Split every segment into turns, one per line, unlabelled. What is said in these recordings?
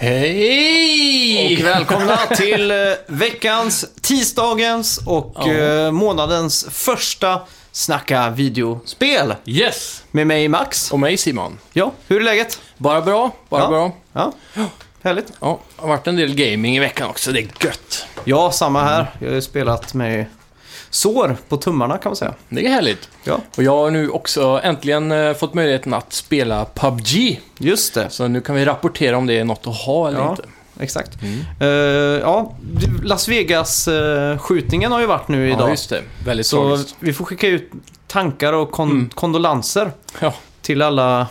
Hej!
Och välkomna till eh, veckans, tisdagens och eh, månadens första Snacka videospel.
Yes!
Med mig Max.
Och mig Simon.
Ja, hur är läget?
Bara bra, bara
Ja.
bra.
Ja, härligt.
Ja, det har varit en del gaming i veckan också, det är gött.
Ja, samma
Mm.
här. Jag har ju spelat med sår på tummarna kan man säga.
Det är härligt.
Ja,
Och jag har nu också äntligen eh, fått möjligheten att spela PubG.
just det.
Så nu kan vi rapportera om det är något att ha eller
Ja.
inte.
Exakt.
Mm.
Eh, ja, Las Vegas-skjutningen har ju varit nu idag.
Ja, just det. Väldigt
så
tragiskt. Mm.
vi får skicka ut tankar och kon- kondolenser
Ja.
till alla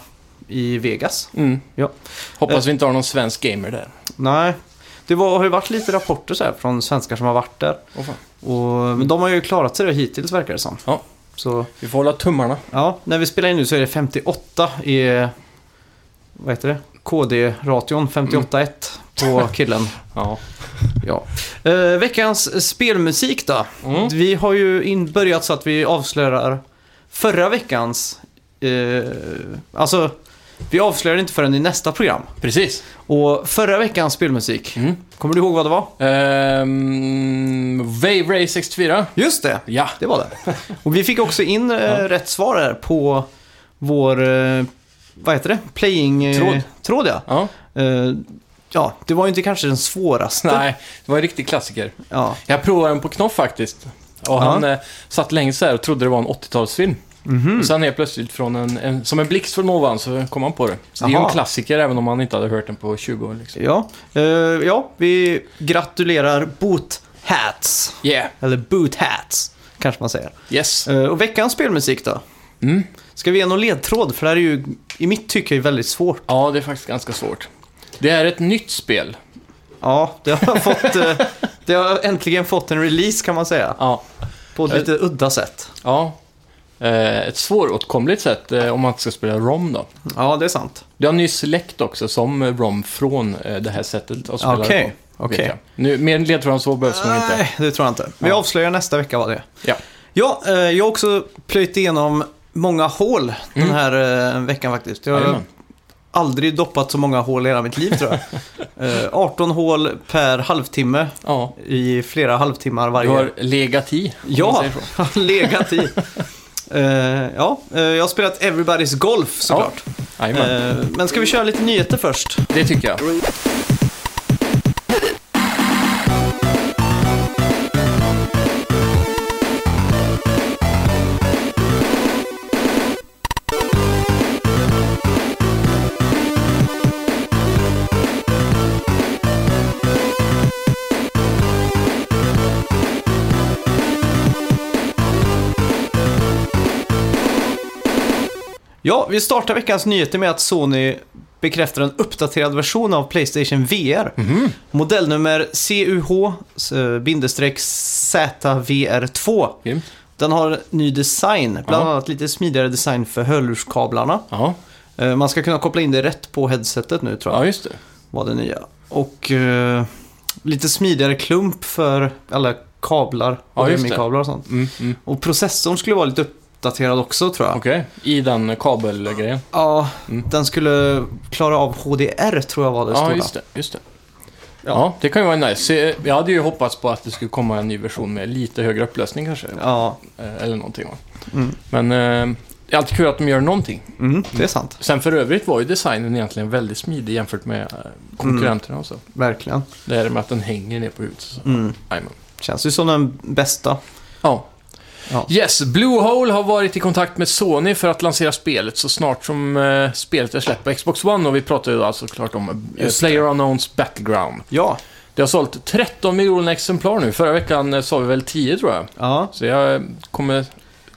i Vegas.
Mm.
Ja.
Hoppas vi inte har någon svensk gamer där.
Nej, det var, har ju varit lite rapporter så här från svenskar som har varit där.
Åh, fan.
Och, men de har ju klarat sig då hittills verkar det som.
Ja.
Så
Vi får hålla tummarna.
ja, när vi spelar in nu så är det 58 i... Vad heter det? KD-ration 58.1
Mm.
på killen.
Ja.
ja. Eh, veckans spelmusik då.
Mm.
Vi har ju in, börjat så att vi avslöjar förra veckans... Eh, alltså, vi avslöjar inte förrän i nästa program.
Precis.
Och förra veckans spelmusik,
Mm.
kommer du ihåg vad det var?
Ehm, Wave Ray 64.
Just det!
Ja.
Det var det. Och vi fick också in eh, rätt svar här på vår, eh, vad heter det? Playing... eh,
Tråd.
Tråd ja.
ja.
Eh, ja, det var ju inte kanske den svåraste.
Nej, det var en riktig klassiker.
Ja.
Jag provade den på Knoff faktiskt. Och han eh, satt längst där och trodde det var en 80-talsfilm.
Mhm.
Och sen helt plötsligt, från en, en, som en blixt från ovan, så kom han på det. Så det är ju
Jaha.
en klassiker även om man inte hade hört den på 20 år. Liksom.
Ja, eh, ja, vi gratulerar Boot Hats.
Yeah,
Eller Boot Hats, kanske man säger.
yes.
Eh, och veckans spelmusik då?
Mm.
Ska vi ge någon ledtråd? För det här är ju, i mitt tycke, väldigt svårt.
Ja, det är faktiskt ganska svårt. Det är ett nytt spel.
Ja, det har, fått, eh, det har äntligen fått en release kan man säga.
Ja.
På ett lite udda sätt.
ja. Eh, ett svåråtkomligt sätt eh, om man inte ska spela ROM då.
Ja, det är sant.
Du har ny select också som eh, ROM från eh, det här sättet att spela
Okej,
det på, vet
okej.
jag. Nu, mer ledtråd än så behövs nog inte.
Nej, det tror jag inte. Vi
Ja.
avslöjar nästa vecka vad det är.
Ja.
Ja, eh, jag har också plöjt igenom många hål den här eh, veckan faktiskt. Jag har
Mm. Jajamän.
aldrig doppat så många hål i hela mitt liv tror jag. Eh, 18 hål per halvtimme
ja.
i flera halvtimmar varje.
Du har legat i. om man
Ja,
säger så.
legat i. Eh, ja, eh, jag har spelat Everybody's Golf såklart.
Jajamän.
Eh, men ska vi köra lite nyheter först?
Det tycker jag.
Ja, vi startar veckans nyheter med att Sony bekräftar en uppdaterad version av Playstation VR. Modellnummer eh, CUH-ZVR2.
Grymt.
Den har ny design, bland
Ja.
annat lite smidigare design för hörlurskablarna.
Ja.
Eh, Man ska kunna koppla in det rätt på headsetet nu tror jag,
ja, just det.
var det nya. Och eh, lite smidigare klump för alla kablar och
Ja, just det.
gummikablar och sånt.
Mm, mm.
Och processorn skulle vara lite uppdaterad också tror jag.
Okej, i den eh, kabelgrejen.
Ja, den skulle klara av HDR tror jag var det
Mm. Ja,
stora.
just det. Just det.
Ja.
Ja. det kan ju vara nice. Se, eh, Jag hade ju hoppats på att det skulle komma en ny version med lite högre upplösning kanske.
Ja,
Eh, Eller någonting. va.
Mm.
Men eh, det är alltid kul att de gör någonting.
mm, det är sant.
Sen för övrigt var ju designen egentligen väldigt smidig jämfört med eh,
Mm.
konkurrenterna och så.
Verkligen.
Det här med att den hänger ner på huvudet. och Så.
Mm.
Jajamän.
Känns ju som den bästa.
Ja.
Ja.
Yes, Bluehole har varit i kontakt med Sony för att lansera spelet så snart som eh, spelet är släppt på Xbox One. Och vi pratar ju alltså klart om eh,
Just
PlayerUnknown's Battleground.
Ja,
Det har sålt 13 miljoner exemplar nu. Förra veckan eh, sa vi väl 10 tror jag.
ja,
Så jag eh, kommer,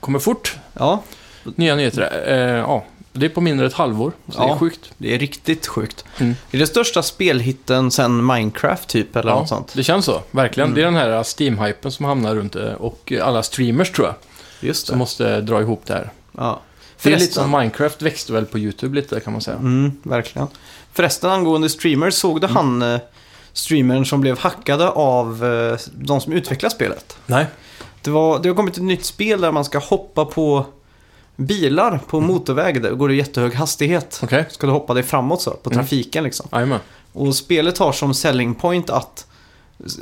kommer fort.
ja.
Nya nyheter. där. Eh, ja, det är på mindre än ett halvår. Så det
Ja.
är sjukt.
Det är riktigt sjukt.
Mm.
Det är den största spelhitten sen Minecraft typ eller
Ja,
något sånt. Mm.
det känns så. Verkligen. Det är den här eh, Steam-hypen som hamnar runt eh, och eh, alla streamers tror jag.
Just
Som
det.
måste eh, dra ihop det här.
Ja.
Det är lite
Förresten-
som Minecraft växte väl på YouTube lite kan man säga.
Mm, verkligen. Förresten angående streamers, såg du
Mm.
han eh, streamern som blev hackade av eh, de som utvecklar spelet?
Nej.
Det, var, det har kommit ett nytt spel där man ska hoppa på bilar på motorväg, där går det jättehög hastighet.
Mm. Okej.
Ska du hoppa dig framåt så, på
Mm.
trafiken liksom.
Jajamän.
Och spelet har som selling point att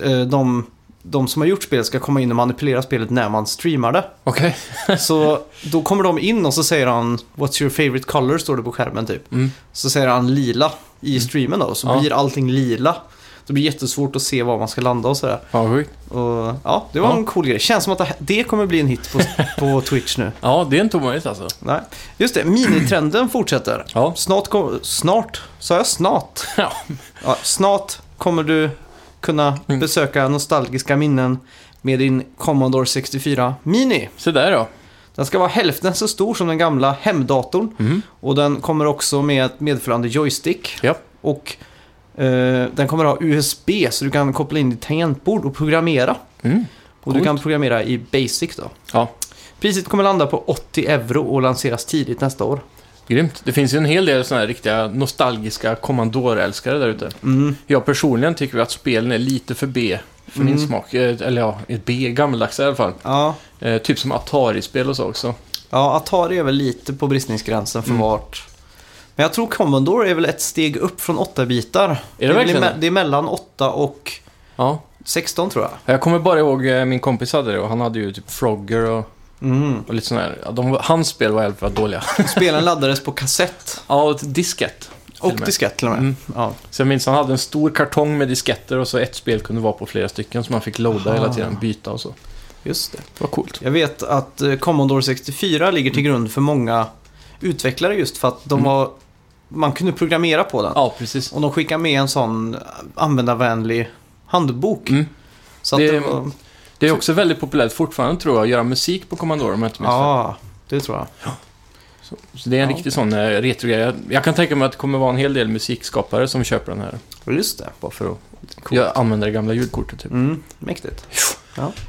eh, de, de som har gjort spelet ska komma in och manipulera spelet när man streamar det.
Okej.
Så då kommer de in och så säger han “What's your favorite color?” står det på skärmen typ.
Mm.
Så säger han lila i streamen då, och så
Ja.
blir allting lila. Det blir jättesvårt att se var man ska landa och sådär.
Ja, sjukt.
Och, ja, det var
Ja.
en cool grej. Känns som att det, här- det kommer bli en hit på, på Twitch nu.
Ja, det är inte omöjligt alltså.
Nej. Just det, minitrenden fortsätter.
Ja.
Snart, kom, snart, sa jag snart?
Ja.
Ja, snart kommer du kunna
Mm.
besöka nostalgiska minnen med din Commodore 64 Mini.
Se där då.
Den ska vara hälften så stor som den gamla hemdatorn
Mm.
och den kommer också med ett medföljande joystick.
Ja.
Och eh, den kommer ha USB så du kan koppla in ditt tangentbord och programmera.
Mm.
Och du
Coolt.
kan programmera i Basic då.
Ja.
Priset kommer landa på 80 euro och lanseras tidigt nästa år.
Grymt. Det finns ju en hel del sådana här riktiga nostalgiska kommandorälskare där ute.
Mm.
Jag personligen tycker att spelen är lite för B för min
Mm.
smak. Eh, Eller ja, ett B, gammaldags i alla fall.
Ja.
Eh, typ som Atari-spel och så också.
Ja, Atari är väl lite på bristningsgränsen för vart. Men jag tror Commodore är väl ett steg upp från 8-bitar.
Är det verkligen
är,
det?
det är mellan 8 och
Ja.
16 tror jag.
Jag kommer bara ihåg eh, min kompis hade det och han hade ju typ Frogger och,
Mm.
och lite sådana här. ja, De, hans spel var i alla fall dåliga.
Spelen laddades på kassett
ja, och ett diskett.
och
Till och med.
diskett till och med.
Mm.
Ja.
Så jag minns han hade en stor kartong med disketter och så ett spel kunde vara på flera stycken som man fick loada
Aha.
hela tiden, byta och så.
Just det.
Det var coolt.
Jag vet att eh, Commodore 64 ligger till grund för många utvecklare just för att de
Mm.
var, man kunde programmera på den.
Ja, precis.
Och de skickade med en sån användarvänlig handbok.
Mm.
Så att
Det-
det, var,
Det är också väldigt populärt fortfarande tror jag, att göra musik på Commodore om jag inte minns fel.
ja, det tror jag.
Så det är en
Ja.
riktig sån eh, retrogrej. Jag, jag kan tänka mig att det kommer vara en hel del musikskapare som köper den här.
Just det.
Bara för att göra, använda det gamla ljudkortet typ.
Mm, mäktigt.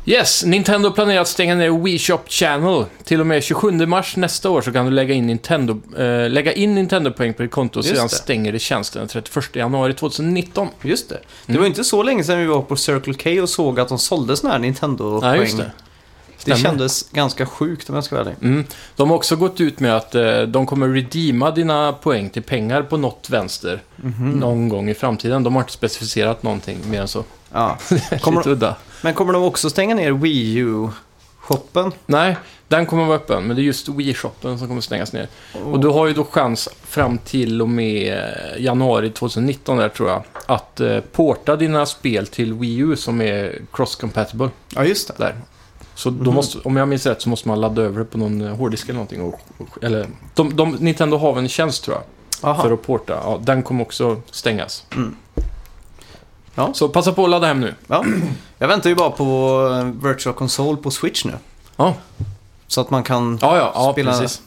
Yes, Nintendo planerar att stänga ner Wii Shop Channel. Till och med 27 mars nästa år så kan du lägga in Nintendo, eh, lägga in Nintendo-poäng på ditt konto och
Just
sedan
det.
stänger det tjänsten den 31 januari 2019.
Just det.
Mm.
Det var inte så länge sedan vi var på Circle K och såg att de sålde såna här Nintendo-poäng.
Nej, just det.
Det
Stämmer.
kändes ganska sjukt om jag ska vara ärlig.
Mm. De har också gått ut med att eh, de kommer redeema dina poäng till pengar på något vänster någon gång i framtiden. De har inte specificerat någonting mer än så.
Ja.
Lite
Kommer,
udda.
men kommer de också stänga ner Wii U-shoppen?
Nej, den kommer vara öppen, men det är just Wii-shoppen som kommer stängas ner. Och du har ju då chans fram till och med eh, januari 2019 där tror jag, att eh, porta dina spel till Wii U som är cross-compatible
Ja, just det.
där. Så då måste, om jag minns rätt så måste man ladda över det på någon eh, hårddisk eller någonting. Och, och, eller, de, de, Nintendo har väl en tjänst tror jag, för
Aha.
att porta. Ja, den kommer också stängas.
Mm. Ja.
Så passa på att ladda hem nu.
Ja. Jag väntar ju bara på eh, Virtual Console på Switch nu.
Ja.
Så att man kan...
Ja, ja, ja
Spela-
precis.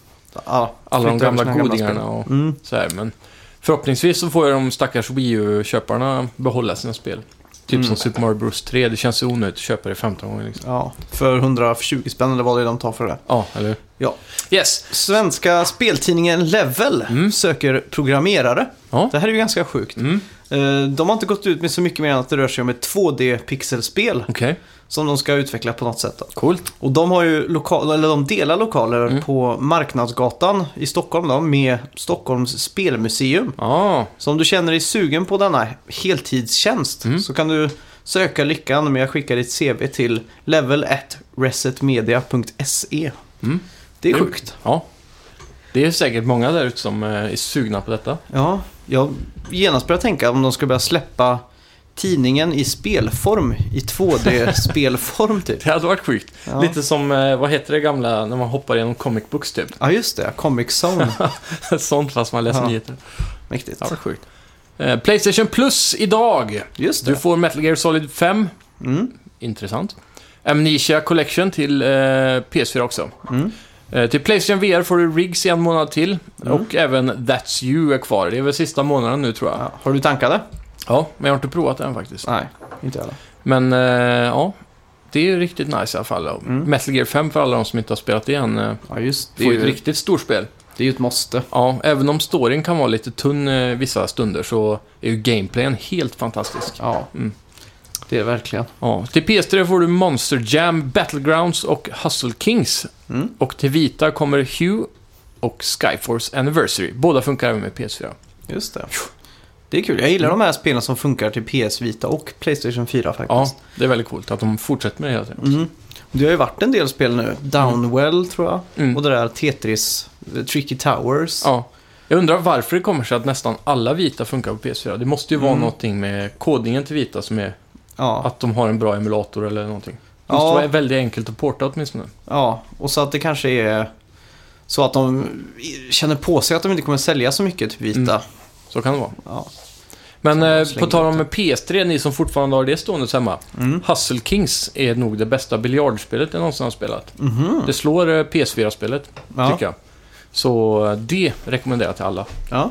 Ja,
Alla de
flytta över
gamla
sina spel.
godingarna och...
Mm.
Så här, men förhoppningsvis så får ju de stackars Wii U-köparna behålla sina spel. Typ
Mm.
som Super Mario Bros 3, det känns ju onödigt att köpa det 15 gånger. Liksom.
Ja, för 120 spänn eller vad det är de tar för det.
Ja, eller hur?
Ja.
Yes!
Svenska speltidningen Level
Mm.
söker programmerare.
Ja.
Det här är ju ganska sjukt.
Mm,
Eh, De har inte gått ut med så mycket mer än att det rör sig om ett 2D-pixelspel
okej.
som de ska utveckla på något sätt. Då.
Coolt.
Och de har ju lokal, eller de delar lokaler
Mm.
på Marknadsgatan i Stockholm då, med Stockholms spelmuseum.
Ja,
Så om du känner dig sugen på denna heltidstjänst så kan du söka lyckan med att skicka ditt CV till level at resetmedia.se.
Mm.
Det är
Kul.
sjukt.
ja. Det är säkert många där ute som eh, är sugna på detta.
Ja, jag genast börjar tänka om de ska börja släppa tidningen i spelform, i 2D-spelform typ.
Det hade varit sjukt.
Ja.
Lite som, eh, vad heter det gamla, när man hoppar genom comic books typ.
Ja, just det. Comic Zone.
Sånt fast man läser
Ja.
nyheter.
Mäktigt.
Det hade varit sjukt. Eh, Playstation Plus idag!
Just
Du
det.
får Metal Gear Solid 5.
Mm.
Intressant. Amnesia Collection till eh, PS4 också.
Mm.
Eh, till Playstation VR får du Riggs i en månad till.
Mm.
Och även That's You är kvar. Det är väl sista månaden nu tror jag. Ja,
Ja, har du tankat det?
men jag har inte provat den faktiskt.
Nej, inte jag.
Men eh, ja, det är ju riktigt nice i alla fall.
Mm.
Metal Gear 5 för alla de som inte har spelat det än. Eh,
Ja, just
det
det.
är
är
ju Mm. ett
ju-
riktigt storspel.
Det är ju ett måste.
Ja, även om storyn kan vara lite tunn eh, vissa stunder så är ju gameplayen helt fantastisk.
Ja,
Mm.
det är verkligen.
Ja, till PS3 får du Monster Jam, Battlegrounds och Hustle Kings.
Mm.
Och till Vita kommer Hue, och Skyforce Anniversary. Båda funkar även med PS4.
Just det. Det är kul. Jag gillar de här spelen som funkar till PS Vita och Playstation 4
Ja,
faktiskt.
det är väldigt coolt att de fortsätter med det hela tiden.
Mm. Det har ju varit en del spel nu. Downwell tror jag.
Mm.
Och det där Tetris, eh, Tricky Towers.
Ja. Jag undrar varför det kommer sig att nästan alla vita funkar på PS4. Det måste ju vara
Mm.
någonting med kodningen till vita som är
Ja.
att de har en bra emulator eller någonting. Det måste
Ja.
vara väldigt enkelt att porta åtminstone.
ja, och så att det kanske är så att de känner på sig att de inte kommer sälja så mycket till Vita.
Mm. Så kan det vara.
Ja.
Men
Så
eh,
släng
på tal om PS3, ni som fortfarande har det stående hemma.
Mm.
Hustle Kings är nog det bästa biljardspelet jag någonsin har spelat. Det slår eh, PS4-spelet,
Ja.
tycker jag. Så eh, det rekommenderar jag till alla.
Ja.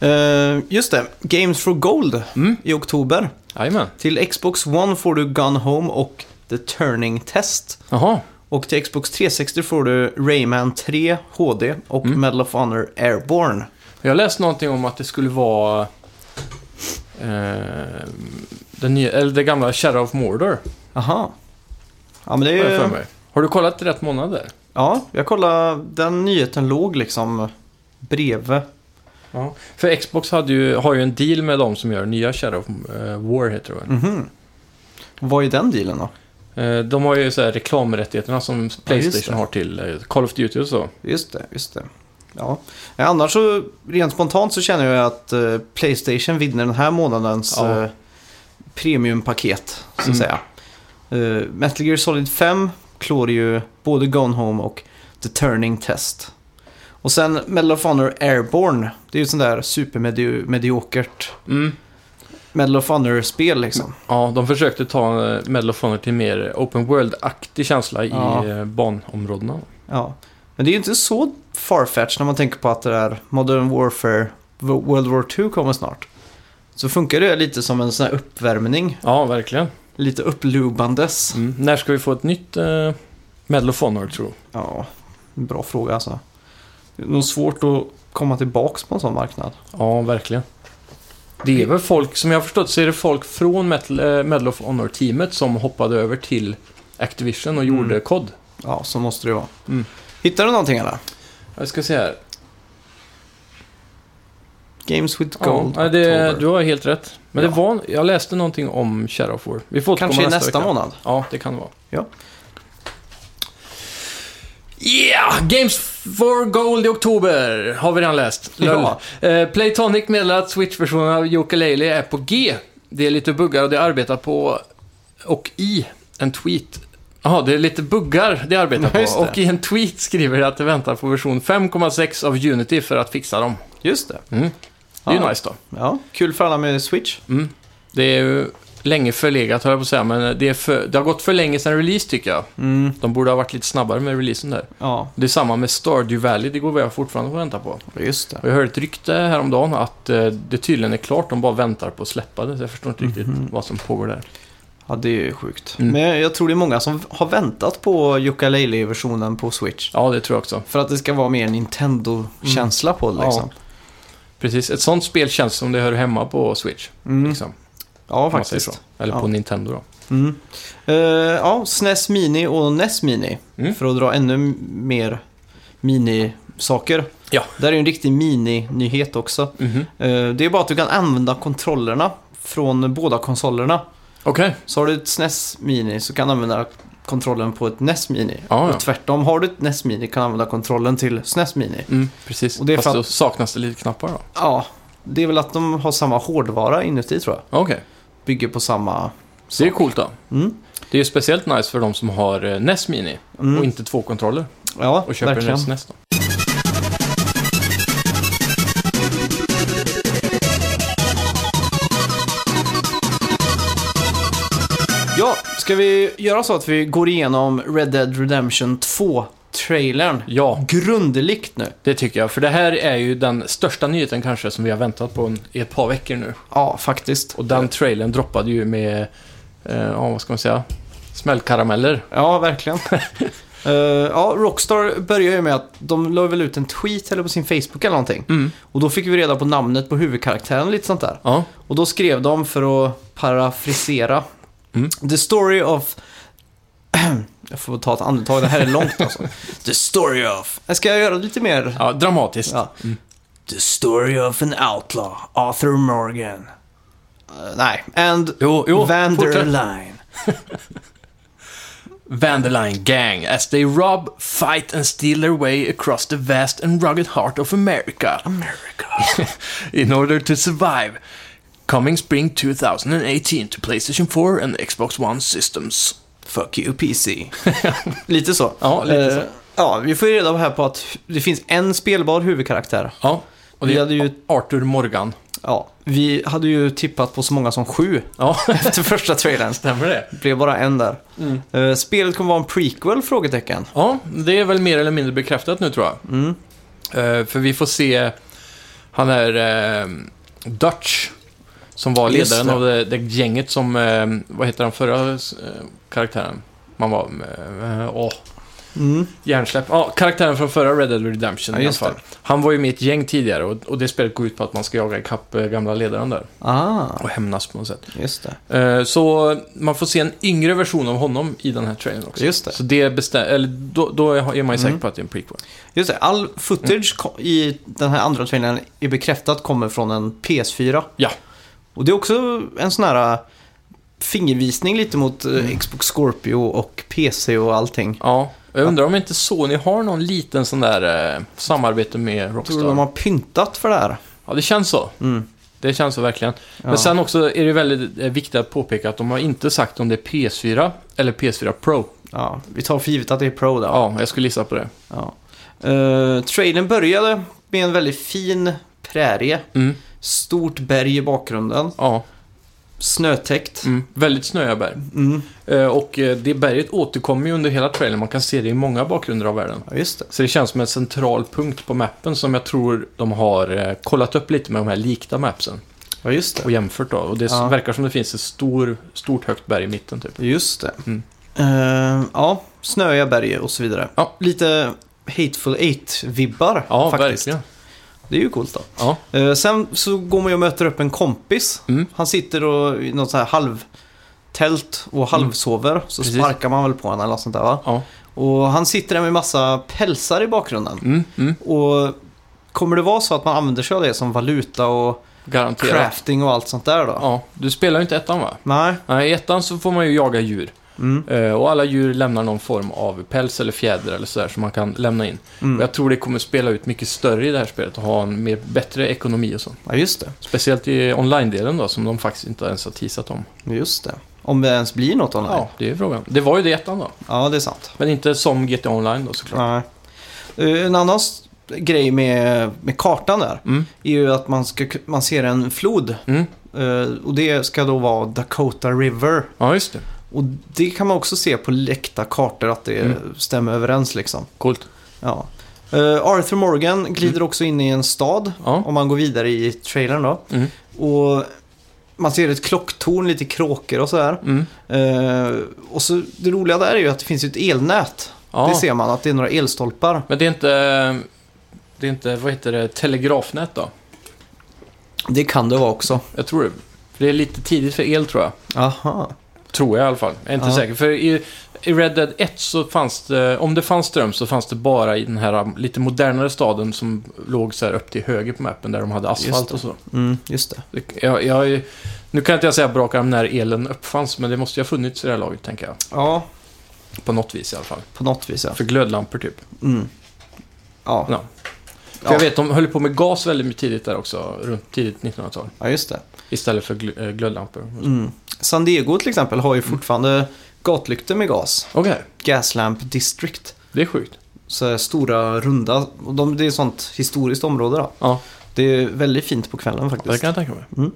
Eh, just det, Games for Gold
Mm.
i oktober.
Jajamän.
Till Xbox One får du Gun Home och The Turning Test.
Jaha,
Och till Xbox 360 får du Rayman 3 HD och
Mm.
Medal of Honor Airborne.
Jag läste någonting om att det skulle vara eh, den nya, eller det gamla Shadow of Mordor.
Aha. Ja, men det
Har, jag
är
för
ju...
mig. har du kollat i rätt månad där?
Ja, jag kollade. Den nyheten låg liksom bredvid.
Ja. För Xbox hade ju, har ju en deal med de som gör nya Shadow of eh, War, heter det väl?
Mhm. Vad är den dealen då?
Eh, De har ju så här reklamrättigheterna som Playstation
det.
har till eh, Call of Duty och så.
Just det, just det. Ja. Ja, Annars så, rent spontant så känner jag att eh, Playstation vinner den här månadens
Ja.
eh, premiumpaket, så att
Mm.
säga. Eh, Metal Gear Solid 5 klår ju både Gone Home och The Turning Test. Och sen Medal of Honor Airborne, det är ju ett sånt där supermediokert Medal of Honor-spel liksom.
Mm. Ja, de försökte ta eh, Medal of Honor till mer open world-aktig känsla
Ja.
i eh, banområdena.
Ja. Men det är ju inte så farfetch när man tänker på att det där Modern Warfare Wo- World War 2 kommer snart. Så funkar det lite som en sån här uppvärmning,
Ja, verkligen.
lite upplubandes.
Mm. När ska vi få ett nytt eh, Medal of Honor, tror du?
Ja, en bra fråga alltså. Det är nog svårt att komma tillbaks på en sån marknad.
Ja, verkligen. Det är väl folk, som jag har förstått så är det folk från Metal, eh, Medal of Honor-teamet som hoppade över till Activision och
Mm.
gjorde kod.
Ja, så måste det vara.
Mm.
Hittar du någonting eller?
Jag ska se här.
Games with
Ja,
Gold.
nej, det,
October.
du har helt rätt. Men
Ja.
det var, jag läste någonting om Shadow of War. Vi får återkomma
Kanske i nästa
vecka.
månad.
Ja, det kan det vara.
Ja.
Yeah! Games for Gold i oktober har vi redan läst.
Ja.
Lol. Eh, Playtonic meddelar att Switch-versionen av Yooka-Laylee är på G. Det är lite buggar och det arbetar på och i en tweet. Jaha, det är lite buggar det arbetar
Ja, just
på.
det.
Och i en tweet skriver det att det väntar på version 5,6 av Unity för att fixa dem.
Just det.
Mm. Det är ju
Ja.
nice då.
Ja, kul för alla med Switch.
Mm. Det är ju länge förlegat, höll jag på att säga, men det, är för, det har gått för länge sedan release tycker jag.
Mm,
De borde ha varit lite snabbare med releasen där.
ja,
Det är samma med Stardew Valley, det går väl jag fortfarande och vänta på.
just det.
Och jag hörde ett rykte häromdagen att eh, det tydligen är klart, de bara väntar på att släppa det. Så jag förstår inte riktigt
Mhm.
vad som pågår där.
Ja, det är ju sjukt.
Mm.
Men jag tror det är många som har väntat på Yooka-Laylee-versionen på Switch.
Ja, det tror jag också.
För att det ska vara mer Nintendo-känsla
Mm.
på det liksom.
Precis, ett sånt spel känns som det hör hemma på Switch.
Ja, mm.
Liksom, om
ja
man säger
faktiskt.
så. Eller på
Ja.
Nintendo då.
Mm. Eh, ja, SNES Mini och NES Mini.
Mm.
För att dra ännu m- mer mini-saker.
Ja.
Det här är ju en riktig mini-nyhet också.
Mhm.
Eh, det är bara att du kan använda kontrollerna från båda konsolerna.
Okej,
Så har du ett SNES Mini så kan du använda kontrollen på ett NES Mini.
Ja, ja.
Och tvärtom, har du ett NES Mini kan du använda kontrollen till SNES Mini.
mm, precis.
Och det är
Fast
för att-
då saknas det lite knappar då.
Ja, det är väl att de har samma hårdvara inuti tror jag.
Okej,
Bygger på samma...
det är coolt då.
Mm.
Det är ju speciellt nice för de som har eh, NES Mini och inte två kontroller
Ja,
och köper
verkligen.
en E NES då.
Ja, ska vi göra så att vi går igenom Red Dead Redemption 2-trailern?
Ja,
Grundligt nu.
det tycker jag. För det här är ju den största nyheten kanske som vi har väntat på en- i ett par veckor nu.
Ja, faktiskt.
Och den trailern droppade ju med, eh, ja vad ska man säga, smällkarameller.
Ja, verkligen. Eh, ja, Rockstar börjar ju med att de la väl ut en tweet eller på sin Facebook eller någonting.
Mm.
Och då fick vi reda på namnet på huvudkaraktären och lite sånt där.
Ja,
Och då skrev de för att parafrisera.
Mm.
The story of Jag får ta ett andetag, det här är långt alltså. The story of... Ska jag göra lite mer?
Ja, dramatiskt.
Ja. The story of an outlaw, Arthur Morgan. Eh, nej, and
Jo, jo. fortsätt.
Vanderline.
Vanderline Gang as they rob, fight and steal their way across the vast and rugged heart of America. America. In order to survive. Coming spring 2018 to PlayStation 4 and Xbox One systems.
Fuck you PC. lite så.
Ja, lite så.
Eh, ja, vi får ju reda på här på att det finns en spelbar huvudkaraktär.
Oh, Ja, och
Vi
det är
hade ju-
Arthur Morgan.
Ja, vi hade ju tippat på så många som sju
Ja,
efter första trailern.
stämmer det?
Det blev bara en där. Eh, spelet kommer vara en prequel? Frågetecken.
Ja, det är väl mer eller mindre bekräftat nu tror jag.
Mm.
Eh, för vi får se han är eh, Dutch, som var
Just
ledaren
det.
av det, det gänget som, eh, vad heter han förra eh, karaktären? Man var, eh, åh,
Mm.
hjärnsläpp. Ja, karaktären från förra Red Dead Redemption
Ja,
i alla
just
fall. Han var ju med i ett gäng tidigare och, och det spelet går ut på att man ska jaga ikapp eh, gamla ledaren där
Ah,
och hämnas på något sätt.
just det.
Eh, så man får se en yngre version av honom i den här trailern också.
Just det. Mm.
Så det bestäm- eller då, då är man ju säker på att det är en prequel.
Just det. All footage ko- i den här andra trailern är bekräftat kommer från en PS4.
Ja.
Och det är också en sån här äh, fingervisning lite mot eh, Xbox Scorpio och PC och allting.
Ja, jag undrar om inte Sony har någon liten sån där eh, samarbete med
Jag tror de
Rockstar.
har pyntat för det här.
Ja, det känns så.
Mm.
Det känns så verkligen.
Ja.
Men sen också är det väldigt eh, viktigt att påpeka att de har inte sagt om det är PS4 eller PS4 Pro.
Ja, vi tar för givet att det är Pro där.
Ja, jag skulle gissa på det.
Ja. Eh, trailern började med en väldigt fin prärie.
Mm.
Stort berg i bakgrunden.
Ja,
Snötäckt.
mm. väldigt snöiga berg.
Mm.
Eh, Och eh, det berget återkommer ju under hela trailern. Man kan se det i många bakgrunder av världen.
Ja, just det.
Så det känns som en central punkt på mappen som jag tror de har eh, kollat upp lite med de här likta mapsen
Ja, just det.
och jämfört då. Och det
Ja.
verkar som det finns ett stor, stort högt berg i mitten typ.
Just det.
Mm.
Eh, ja, snöiga berg och så vidare.
Ja.
Lite Hateful Eight-vibbar
Ja,
faktiskt.
verkligen.
Det är ju coolt då.
Ja.
Eh, sen så går man ju och möter upp en kompis.
Mm.
Han sitter och i något så här halvtält och halvsover. Så
Mm. Precis.
sparkar man väl på honom eller något sånt där va?
Ja.
Och han sitter där med massa pälsar i bakgrunden.
Mm, mm.
Och kommer det vara så att man använder sig av det som valuta och
Garanterat.
crafting och allt sånt där då?
Ja, du spelar ju inte ettan va?
Nej.
Nej, i ettan så får man ju jaga djur.
Mm.
Eh, Och alla djur lämnar någon form av päls eller fjäder eller sådär som man kan lämna in. Och
Mm.
jag tror det kommer spela ut mycket större i det här spelet och ha en mer, bättre ekonomi och så.
Ja, just det.
Speciellt i online-delen då, som de faktiskt inte ens har teasat om.
Just det. Om det ens blir något online.
Ja, det är frågan. Det var ju det i ettan då.
Ja, det är sant.
Men inte som GTA Online då såklart.
Nej. Eh, En annan s- grej med, med kartan där
Mm.
är ju att man, ska, ku- man ser en flod.
Mm.
eh, Och det ska då vara Dakota River.
Ja, just det.
Och det kan man också se på läckta kartor att det
Mm.
stämmer överens liksom.
Coolt.
Ja. Eh, Arthur Morgan glider
Mm.
också in i en stad.
Ja.
Om man går vidare i trailern då.
Mm.
Och man ser ett klocktorn, lite kråkor och sådär.
Mm.
Eh, och så det roliga där är ju att det finns ju ett elnät.
Ja.
Det ser man, att det är några elstolpar.
Men det är inte... Det är inte, vad heter det, telegrafnät då?
Det kan det vara också.
Jag tror det. För det är lite tidigt för el tror jag.
Aha.
Tror jag i alla fall. Jag är inte
Ja.
säker. För i, i Red Dead 1 så fanns det, om det fanns ström så fanns det bara i den här lite modernare staden som låg så här upp till höger på mappen där de hade
Just
asfalt
det.
och så.
Mm, just det.
Det- Jag, jag, nu kan inte jag säga på rak arm när elen uppfanns, men det måste ju ha funnits i det här laget, tänker jag.
Ja,
På något vis i alla fall.
på något vis ja.
För glödlampor typ.
Mm. Ja.
Ja. För jag vet, de höll på med gas väldigt mycket tidigt där också, runt tidigt 1900-tal.
ja, just det.
Istället för gl- eh, glödlampor.
Mm. San Diego till exempel har ju fortfarande gatlyktor med gas.
Okej,
Gaslamp District.
det är sjukt.
Så här stora, runda. Och de, det är ett sånt historiskt område då.
Ja,
Det är väldigt fint på kvällen faktiskt.
det kan jag tänka mig.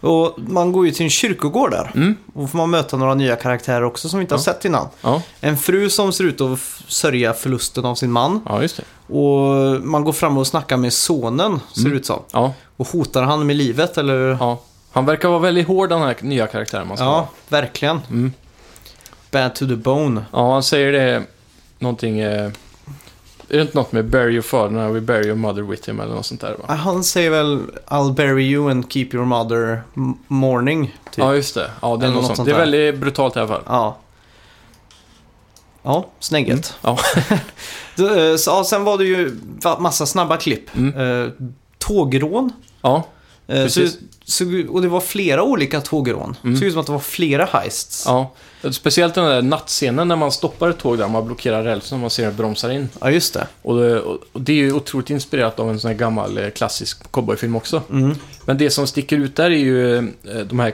Och man går ju till en kyrkogård där.
Mm,
Och då får man möta några nya karaktärer också som vi inte har
Ja.
sett innan.
ja.
En fru som ser ut att f- sörja förlusten av sin man.
ja, just det.
Och man går fram och snackar med sonen, ser det ut som.
Ja,
Och hotar han med livet eller?
Mm. Ja. Han verkar vara väldigt hård den här nya karaktären man ska
Ja,
ha.
verkligen.
Mm.
Bad to the bone.
ja, han säger det någonting... Eh, är det inte något med bury your father and we bury your mother with him eller något sånt där va?
Ah, Han säger väl I'll bury you and keep your mother m- mourning. Typ.
Ja, just det. Ja, det är
Eller
något
något
sånt.
sånt
Det är
där.
väldigt brutalt i alla fall.
Ja. Ja, snägget.
Mm,
Du, eh, så, ja, sen var det ju va- massa snabba klipp.
Mm.
Eh, Tågrån.
Ja,
Eh, Så,
Precis.
så, och det var flera olika tågrån.
Mm.
Det såg ut som att det var flera heists. Ja,
ja. Speciellt den där nattscenen när man stoppar ett tåg där man blockerar rälsen och man ser den bromsar in.
just det.
Och det, och det är ju otroligt inspirerat av en sån här gammal eh, klassisk cowboyfilm också.
Mm.
Men det som sticker ut där är ju eh, de här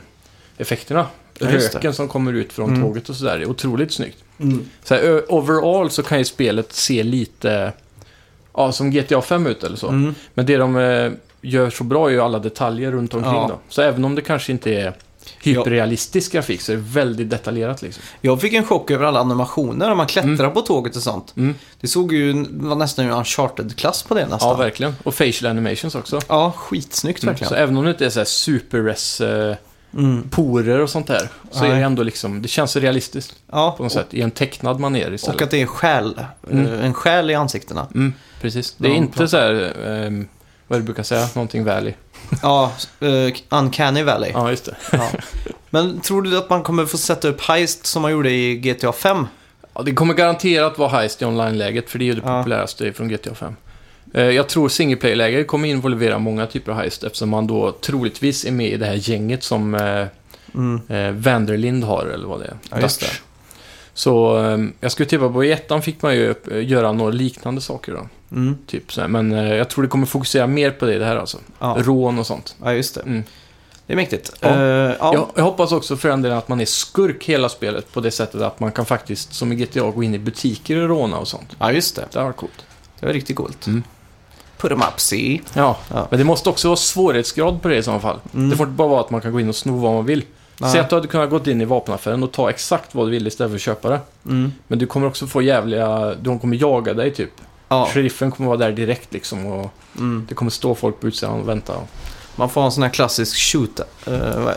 cloud-effekterna.
Ja, just det.
Röken som kommer ut från
Mm.
tåget och sådär. Det är otroligt snyggt.
Mm.
Så här, ö- overall så kan ju spelet se lite ja, som GTA 5 ut eller så.
Mm.
Men det de eh, gör så bra är ju alla detaljer runt omkring
Ja.
då. Så även om det kanske inte är hyperrealistisk grafik så är det väldigt detaljerat liksom.
Jag fick en chock över alla animationer när man klättrar på tåget och sånt.
Mm.
Det såg ju det var nästan en uncharted-klass på det
Ja,
nästan.
verkligen. Och facial animations också.
ja skitsnyggt
Mm.
verkligen.
Så även om det inte är så här super-res eh,
Mm.
porer och sånt där. Så är
Nej.
det ändå liksom, det känns realistiskt
Ja,
på något
och,
sätt. I en tecknad manér istället.
och att det är själ,
Mm.
eh, en själ i ansiktena.
Mm, precis. Det är
Ja,
inte
klart.
så här, ehm, vad är det du brukar säga, någonting valley.
ja, eh, uncanny valley.
Ja, just det.
Ja. Men tror du att man kommer få sätta upp heist som man gjorde i GTA 5?
Ja, det kommer garanterat vara heist i online-läget, för det är ju det
Ja.
populäraste från GTA 5. Eh, Jag tror single player-läget kommer involvera många typer av heist eftersom man då troligtvis är med i det här gänget som eh,
Mm.
eh, Vanderlind har eller vad det är.
Ja, just
Dutch.
det.
Så eh, jag skulle tippa på i ettan fick man ju eh, göra några liknande saker då.
Mm.
Typ så här. Men eh, jag tror det kommer fokusera mer på det i det här alltså.
Ja.
Rån och sånt.
ja, just det.
Mm.
Det är mäktigt.
Ja.
Eh, ja.
Jag, jag hoppas också för den delen att man är skurk hela spelet på det sättet att man kan faktiskt, som i GTA, gå in i butiker och råna och sånt.
ja, just det.
Det var coolt.
Det var riktigt coolt.
Mm.
Put 'em up, see.
Ja,
Ja.
men det måste också vara svårighetsgrad på det i så fall.
Mm.
Det får inte bara vara att man kan gå in och sno vad man vill.
Nej.
Säg att du hade kunnat gå in i vapenaffären och ta exakt vad du vill istället för att köpa det.
Mm.
Men du kommer också få jävliga... De kommer jaga dig typ.
Ja.
Sheriffen kommer vara där direkt liksom och
Mm.
det kommer stå folk på utsidan och vänta.
Man får ha en sån här klassisk shoot. eh,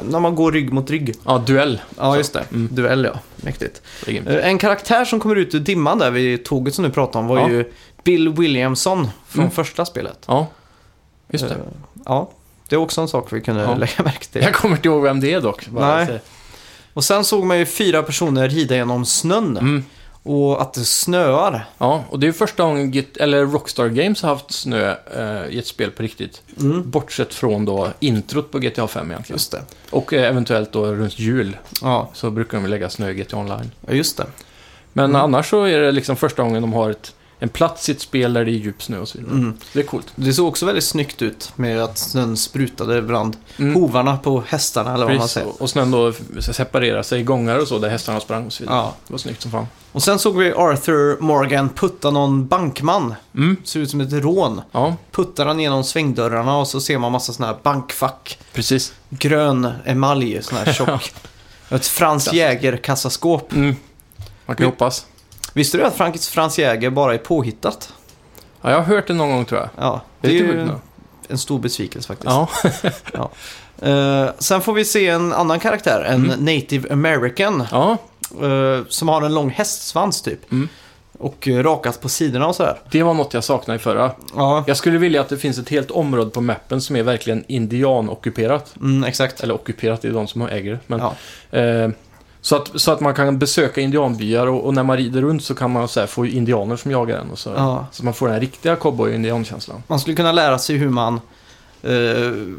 när man går rygg mot rygg.
Ja, duell.
Ja,
Så.
just det.
Mm.
Duell, ja. Mäktigt.
Det är grymt.
Eh, en karaktär som kommer ut ur dimman där vid tåget som du pratade om var
Ja.
ju Bill Williamson från
Mm.
första spelet.
Ja, just det.
Eh, ja. Det är också en sak vi kunde
Ja.
lägga märke till.
Jag kommer inte ihåg vem det är dock.
Nej. Och sen såg man ju fyra personer rida genom snön
Mm.
och att det snöar.
Ja, och det är ju första gången Git, eller Rockstar Games har haft snö eh, i ett spel på riktigt.
Mm.
Bortsett från då introt på GTA 5 egentligen.
Just det.
Och eh, eventuellt då runt jul
Ja,
så brukar de lägga snö i GTA Online.
ja, just det.
Men
Mm.
annars så är det liksom första gången de har ett, en plats i ett spel där det är djup snö och så vidare.
Mm.
Det är coolt.
Det såg också väldigt snyggt ut med att snön sprutade bland
Mm.
hovarna på hästarna eller vad man
Precis,
säger.
och, och snön då separerar sig i gångar och så där hästarna sprang och så vidare.
Ja.
Det var snyggt som fan.
Och sen såg vi Arthur Morgan putta någon bankman.
Mm.
Ser ut som ett rån.
Ja,
Puttar han genom svängdörrarna och så ser man massa sådana här bankfack.
precis.
Grön emalj, sån här tjock. ett Franz Jäger-kassaskåp.
Mm. Man kan ju hoppas.
Visste du att Frank- Franz Jäger bara är påhittat?
Ja, jag har hört det någon gång tror jag.
Ja,
Det är, lite sjukt
ju
nu.
en stor besvikelse faktiskt.
Ja,
Eh, sen får vi se en annan karaktär, en
Mm.
native american,
ja,
eh, som har en lång hästsvans typ.
Mm.
Och eh, rakat på sidorna och sådär.
det var något jag saknade i förra.
Ja,
Jag skulle vilja att det finns ett helt område på mappen som är verkligen indianockuperat.
mm, exakt.
Eller ockuperat, det är de som äger det. Men,
Ja.
eh, så, att, så att man kan besöka indianbyar och, och när man rider runt så kan man så här, få indianer som jagar en. Och så,
Ja.
så man får den här riktiga cowboy-indiankänslan.
Man skulle kunna lära sig hur man uh,